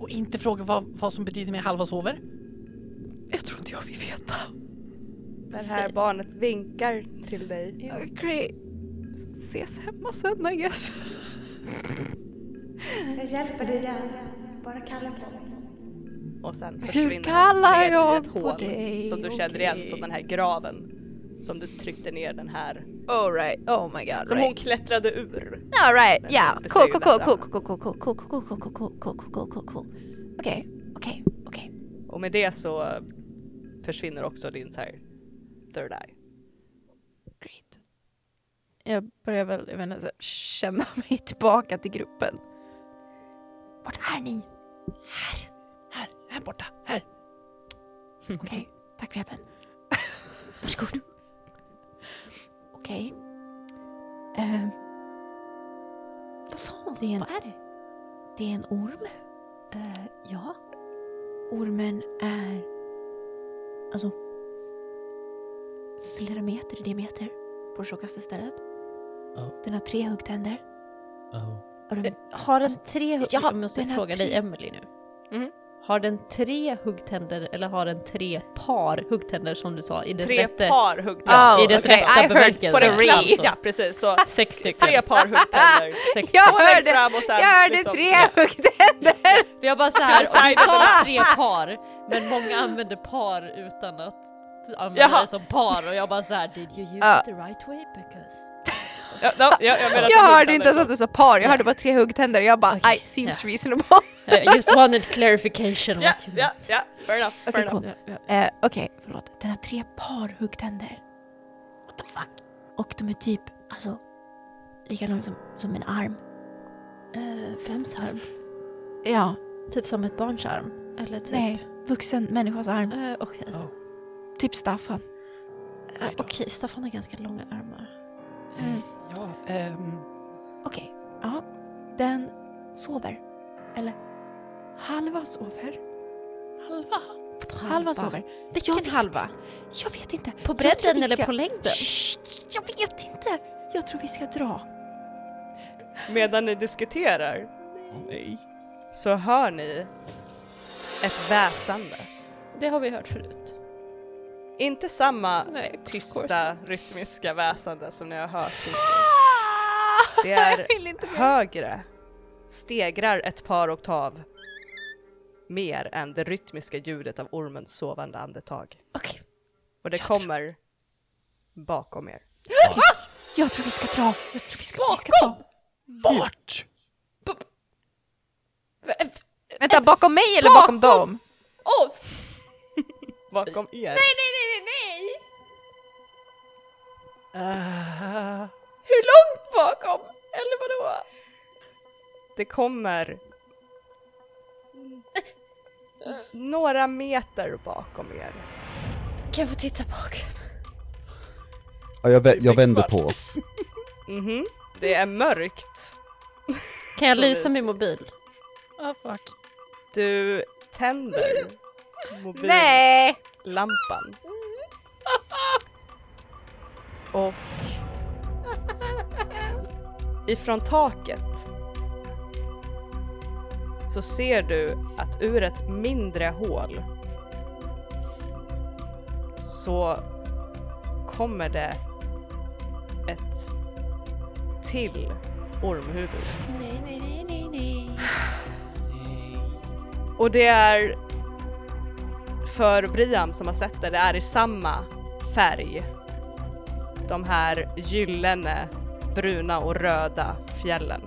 Och inte fråga vad, vad som betyder med halva sover.
Jag tror inte jag vill veta.
Det här barnet vinkar till dig.
Great. Ses hemma sen I guess.
Jag hjälper dig gärna. Bara kalla på mig. Och sen
Hur
försvinner
kallar
ner i
jag
ett
på
hål
dig?
Som du känner igen
Okej.
som den här graven. Som du tryckte ner den här.
All right. Oh my god.
Som
right.
hon klättrade ur.
All right,
Men
yeah.
det
Cool,
säger
cool,
ju
cool,
det
cool, cool, cool, cool, cool, cool, cool, cool, cool, cool, cool, cool, cool. Okej, okej, okej.
Och med det så försvinner också din så här third eye.
Great. Jag börjar väl, jag menar, så här, känna mig tillbaka till gruppen. Vart är ni? Här. Här, här borta, här. Okej, tack för hjälpen. Varsågod. Okej. Ehm,
Vad sa hon?
Det är en-
Vad är det?
det är en orm.
Eh, ja,
Ormen är alltså flera meter i diameter på det tjockaste stället.
Ja.
Den har tre huggtänder.
Oh.
Och den,
har den tre hugg...
ja,
jag måste
den har
fråga
tre-
dig Emily nu.
Mhm.
Har den tre huggtänder eller har den tre par huggtänder som du sa i dess
Tre
rätte?
par huggtänder.
Oh,
I dess
okay.
rätta
I heard
bemärkelse.
På den
Alltså,
ring. Ja, precis. Så
Sex stycken.
tre par huggtänder.
Sex
Jag
Två längst
hörde-
fram och sen
jag hörde
liksom-
tre huggtänder!
För jag bara såhär,
Till
du
sidan
sa
sådär.
tre par, men många använder par utan att använda
Jaha.
det som par och jag bara såhär, did you use
Ja.
it the right way because...
Ja, no, ja, jag menar
Jag
att huggtänder-
hörde inte ens
liksom.
att du sa par, jag hörde bara tre huggtänder. Jag bara
Okej,
I seems
ja.
reasonable.
Eh, I just wanted clarification.
Ja,
what you
ja, ja. Fair enough. Fair
Okej,
enough.
cool.
meant. Ja, ja.
Eh, Okej, förlåt. Den har tre par huggtänder. What the fuck? Och de är typ, alltså, lika långa som, som en arm.
Eh, vems arm?
Ja,
Typ som ett barns arm? Eller typ...
nej. Vuxen människas arm.
Eh, Okej, Eh,
Typ Staffan.
okej Staffan har ganska långa armar.
Okej, ja. Den sover. Eller halva sover. Halva? Halva sover. Jag
Vilken
vet.
halva?
Jag vet inte.
På
Jag tror vi
bredden
ska-
eller på längden?
Shh, jag vet inte. Jag tror vi ska dra.
Medan ni diskuterar så hör ni ett väsande.
Det har vi hört förut.
Inte samma
Nej, of course.
tysta rytmiska väsande som ni har hört hittills. Det är
Jag vill inte mer.
högre, stegrar ett par oktav mer än det rytmiska ljudet av ormens sovande andetag.
Okej,
Och det kommer bakom er.
jag tror vi ska dra. Jag tror vi ska, vi ska dra.
Vart?
Vänta, bakom mig eller bakom, dem?
Åh, oh,
Bakom er.
nej, nej, nej, nej!
Ah.
Hur långt bakom? Eller vadå?
Det kommer
Mm.
några meter bakom er.
Kan jag få titta bak?
Ja, jag, vä- jag vänder på oss.
Mhm. Det är mörkt.
Kan jag
Så
lysa
mysigt.
min mobil?
Ah, fuck.
Du tänder mobillampan.
Nej!
Och ifrån taket så ser du att ur ett mindre hål så kommer det ett till ormhuvud.
Nej, nej, nej, nej, nej.
Och det är för Briam som har sett det, det är i samma färg. De här gyllene, bruna och röda fjällen.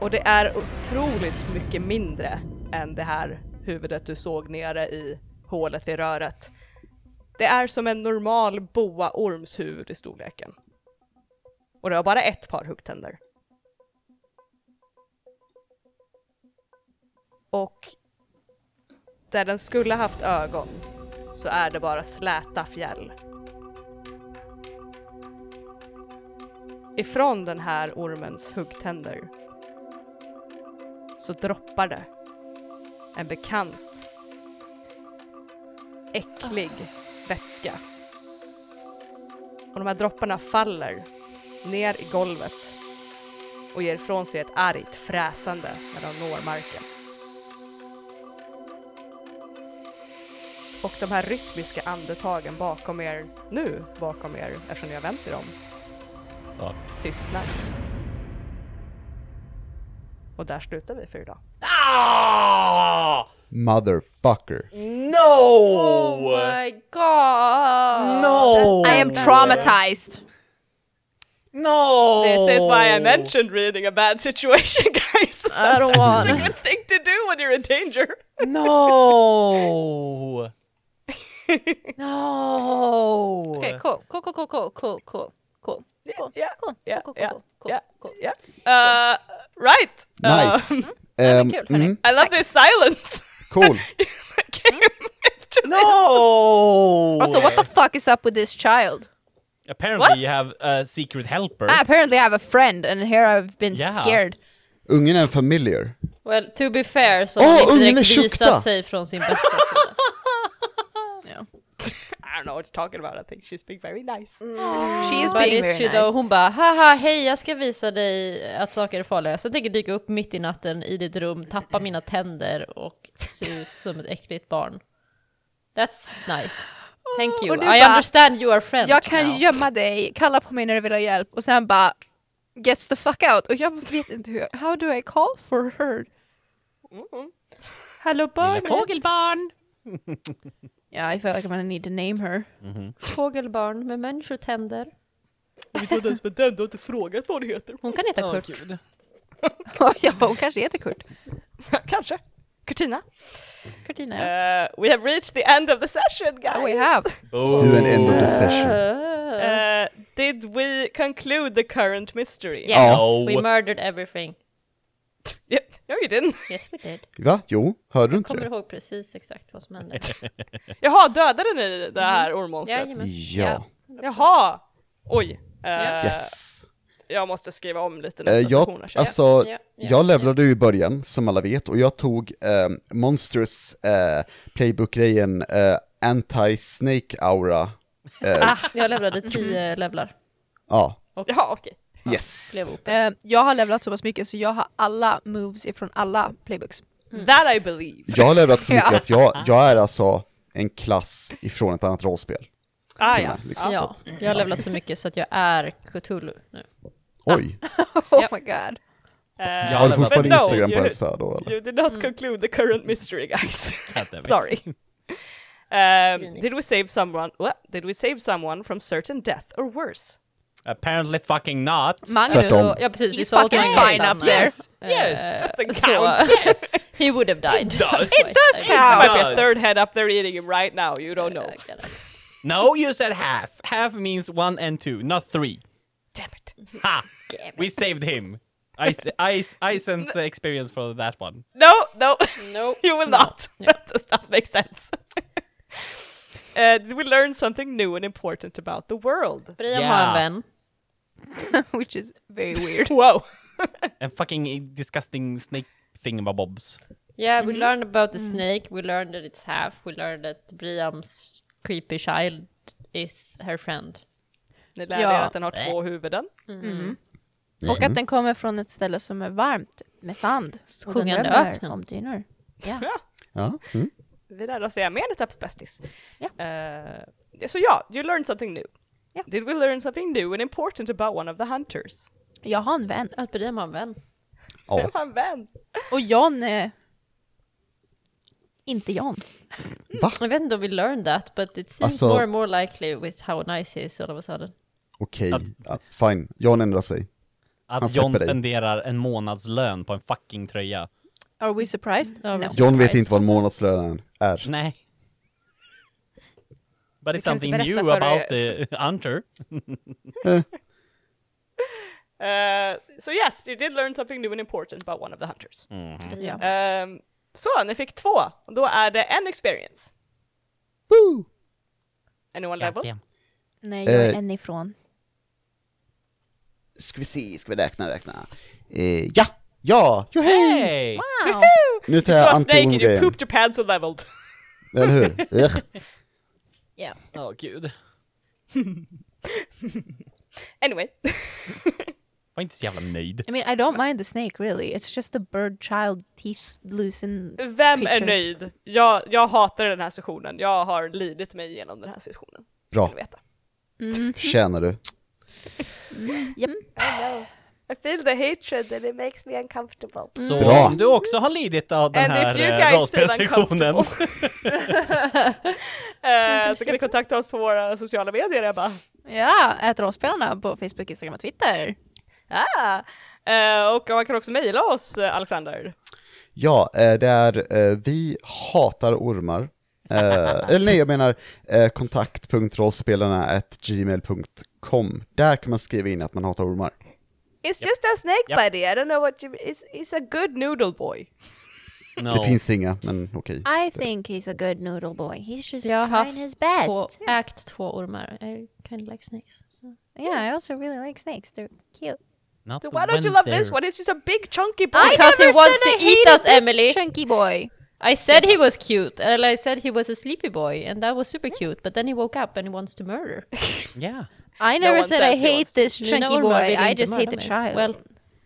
Och det är otroligt mycket mindre än det här huvudet du såg nere i hålet i röret. Det är som en normal boaorms huvud i storleken. Och det har bara ett par huggtänder. Och där den skulle haft ögon så är det bara släta fjäll. Ifrån den här ormens huggtänder så droppar det en bekant äcklig vätska. Och de här dropparna faller ner i golvet och ger ifrån sig ett argt fräsande när de når marken. Och de här rytmiska andetagen bakom er, nu bakom er, eftersom ni har vänt er om,
Ja.
tystnar. Och där slutar vi för idag.
Ah!
Motherfucker.
No!
Oh
Oh
my god!
No!
I am traumatized.
No!
This is why I mentioned reading a bad situation guys.
I don't
Sometimes it's
wanna.
a good thing to do when you're in danger.
No! no!
Okej, cool, cool, cool, cool, cool, cool, cool, cool, cool,
Yeah,
cool,
yeah,
cool,
yeah,
cool, cool,
yeah,
cool.
yeah. Uh, right!
Nice.
Um,
Ehm,
kul, hörni.
mm,
I love this silence!
cool.
Came after this.
No!
Alltså,
Also, what the fuck is up with this child?
Apparently
What?
you have a secret helper.
Apparently I have a friend and here I've been
Yeah.
scared.
Ungen är en familiar.
Well, to be fair så
Åh,
har han
ungen
inte
är
direkt
tjukta!
visat sig från sin bästa sida.
I don't know what you're talking about, I think she's being very nice.
Mm.
She is
But
being
it's
very
she though.
nice.
Hon bara haha hej jag ska visa dig att saker är farliga. Så jag tänker dyka upp mitt i natten i ditt rum, tappa mina tänder och se ut som ett äckligt barn. That's nice. Thank you.
Och
I
du bara,
understand you are friends
Jag kan
now.
gömma dig, kalla på mig när du vill ha hjälp och sen bara gets the fuck out och jag vet inte hur, how do I call for her?
Mm.
Hallå
Ah,
barn,
Fågelbarn!
Ja, yeah, I feel like I'm gonna need to name her.
fågelbarn med människotänder.
Du har inte ens med den, du har inte frågat vad du heter.
Hon kan heta Kurt.
ja, hon kanske heter Kurt.
Kanske. Kurtina.
Kurtina ja.
Uh, we have reached the end of the session guys!
Uh,
Oh, we have.
Du är en end of the session.
Uh,
Uh, did we conclude the current mystery?
yes,
Ja.
we murdered everything.
Yep. No you didn't.
Yes we did.
Va? Jo, hörde du inte
Kommer
det?
ihåg precis exakt vad som hände.
Jaha, dödade ni det här ormmonstret?
Jajamän.
Ja.
Jaha! Oj. Eh,
Yes.
Jag måste skriva om lite
Eh,
nästa session
jag,
här.
alltså,
ja, ja,
jag levlade ju i början, som alla vet, och jag tog eh, Monsters eh, playbook-grejen eh, Anti-Snake Aura. Eh,
Jag levlade
Mm.
10 levlar.
ja,
Jaha, okej.
yes.
Blev OP.
Eh, jag har levlat så pass mycket så jag har alla moves ifrån alla playbooks.
That I believe.
Jag har levlat så mycket
Ja.
att jag, jag är alltså en klass ifrån ett annat rollspel.
Ah,
till och
ja.
med, liksom, så
Ja,
att-
jag har levlat så mycket så att jag är Cthulhu nu.
Oj,
Oh
Ja.
my god.
Eh,
har du
but
fortfarande
no,
Instagram på
you-
Elsa då eller?
You did not conclude the current mystery, guys.
damn it.
Sorry. Um, did we save someone? What? Did we save someone from certain death or worse?
Apparently fucking not.
Magnus.
Tvärtom.
Ja precis, vi
He's
sa åt
fucking
honom att
fine up
stanna.
there.
Yes,
Eh,
doesn't
så-
count.
He would have died.
It does.
It
There
does count.
might be a
Nice.
third head up there eating him right now. You don't know.
No, you said half. Half means one and two, not three.
Damn it.
Ha! We saved him. I, s- I, s- I sense experience for that one.
No, no.
Nope.
you will
No.
not.
Yeah.
That does not make sense. uh, did we learn something new and important about the world?
Brian
Yeah.
har en vän.
Which is very weird.
Whoa.
And fucking disgusting snake thingamabobs.
Yeah, we
Mm.
learned about the snake, we learned that it's half, we learned that Briams creepy child is her friend.
Ni lärde
Ja.
er att den har två huvuden.
Och
Mm.
att den kommer från ett ställe som är varmt med sand. Och den
Sjungande
drömmer
öken.
Om dynor.
Ja. Mm.
Vi lärde oss det med en etapps bästis.
Ja.
Eh, så ja, you learned something new.
Ja.
Did we learn something new and important about one of the hunters?
Jag har en vän.
Att Brian har en vän.
Ja.
Han vän.
Och John eh, är... Inte John.
Jag vet inte om vi learned that, but it seems
Alltså-
more and more likely with how nice he is all of a sudden.
Okej, ja, fine. John ändrar sig. Han
Att
släpper
John
dig.
spenderar en månadslön på en fucking tröja.
Are we surprised?
Ja, vi-
John vet inte vad månadslönen är.
Nej. But it's
kan inte
something
berätta
new
för
about the hunter.
Eh, so yes, you did learn something new and important about one of the hunters.
Ja.
Ehm, så, ni fick två. Och då är det en experience.
Woo!
Anyone level?
Nej, jag är
Eh.
en ifrån.
Ska vi se, ska vi räkna, räkna. Eh, ja! Ja! Johej!
Hey!
Nu tar
You
jag
saw a snake and you
anti-ord-grejen.
pooped your pants and leveled.
Eller hur? Ugh.
Åh gud.
Anyway.
Var inte så jävla nöjd.
I mean, I don't mind the snake really. It's just the bird child teeth loosen.
Vem är
Creature.
nöjd? Jag, jag hatar den här sessionen. Jag har lidit mig igenom den här sessionen.
Bra.
Ska ni veta.
Förtjänar du.
I feel the hatred and it makes me uncomfortable.
Så
Bra.
om du också har lidit av den
Mm. And if you
här eh,
guys feel
rollspelssessionen.
uncomfortable. Eh, så kan ni kontakta oss på våra sociala medier, Ebba.
Ja, ät råspelarna på Facebook, Instagram och Twitter.
Ah. Eh, och man kan också mejla oss, eh, Alexander.
Ja, eh, det är eh, vi hatar ormar. Eh, eller nej, jag menar eh, kontakt.rollspelarna.gmail.com. Där kan man skriva in att man hatar ormar.
It's just a snake
Yep.
buddy, I don't know what you mean. It's, it's a good noodle boy.
No.
Det finns inga, men okej.
I think he's a good noodle boy. He's just
Jag har haft
trying his best.
Två, ägt två ormar. I kind of like snakes.
Yeah, I also really like snakes. They're cute.
Not
So
the
why don't you
went
love
there.
this one? It's just a big chunky boy.
Because he wants to eat us, Emily.
Chunky boy.
I said he was cute, and I said he was a sleepy boy, and that was super cute. But then he woke up and he wants to murder.
Yeah.
I never
one
said I
says he
hate
wants
this
You know
chunky
Ulmer
boy.
vill
I
inte
just hate
mörda
the
mig.
child.
Well,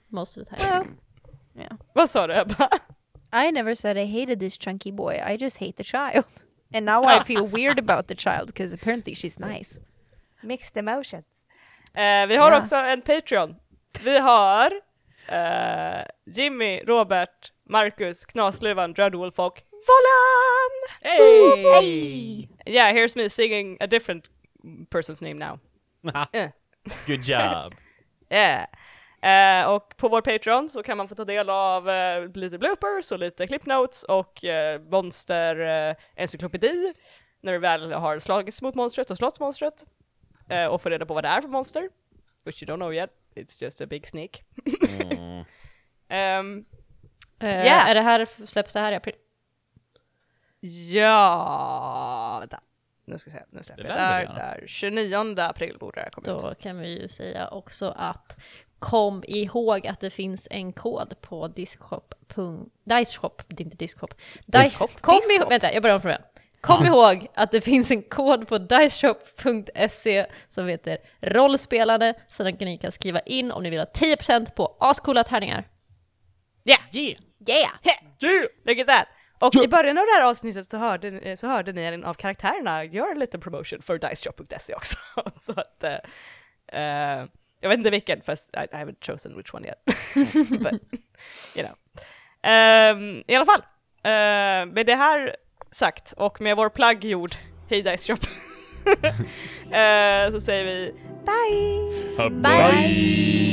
most of the time.
Well,
Vad sa du Ebba?
I never said I hated this chunky boy. I just hate the child. And now I feel weird about the child because apparently she's nice.
Mixed emotions. Eh, vi har
Ja.
också en Patreon. Vi har eh, Jimmy, Robert, Marcus, Knasluvan, Dread Wolf och Vollan! Yeah, here's me singing a different person's name now.
Good job.
Yeah. Eh, och på vår Patreon så kan man få ta del av eh, lite bloopers och lite clip notes och eh, monster eh, encyklopedi när vi väl har slagits mot monstret och slått monstret eh, och få reda på vad det är för monster. Which you don't know yet, it's just a big sneak. Ehm,
Eh,
Yeah.
Är det här, släpps det här i april?
ja, vänta. Nu ska vi se, nu släpper
Det
jag.
där
Där,
vill vi
där. 29 april borde det här komma ut.
Då kan vi ju säga också att kom ihåg att det finns en kod på diskshop. Diceshop, det är inte diskshop. Dice,
Diskshop?
kom
Diskshop.
ihåg, vänta, jag börjar om från början. Kom ihåg att det finns en kod på diceshop.se som heter rollspelande, så den kan ni kan skriva in om ni vill ha 10% på ascoola tärningar.
Yeah!
Yeah!
Look at that! Och i början av det här avsnittet så hörde, ni- så hörde ni en av karaktärerna göra en liten promotion för Diceshop.se E också. så att, eh, eh, jag vet inte vilken, fast I, I haven't chosen which one yet. But, you know. Ehm, I alla fall, eh, med det här sagt och med vår plagg gjord, hej Diceshop, eh, så säger vi bye!
Bye!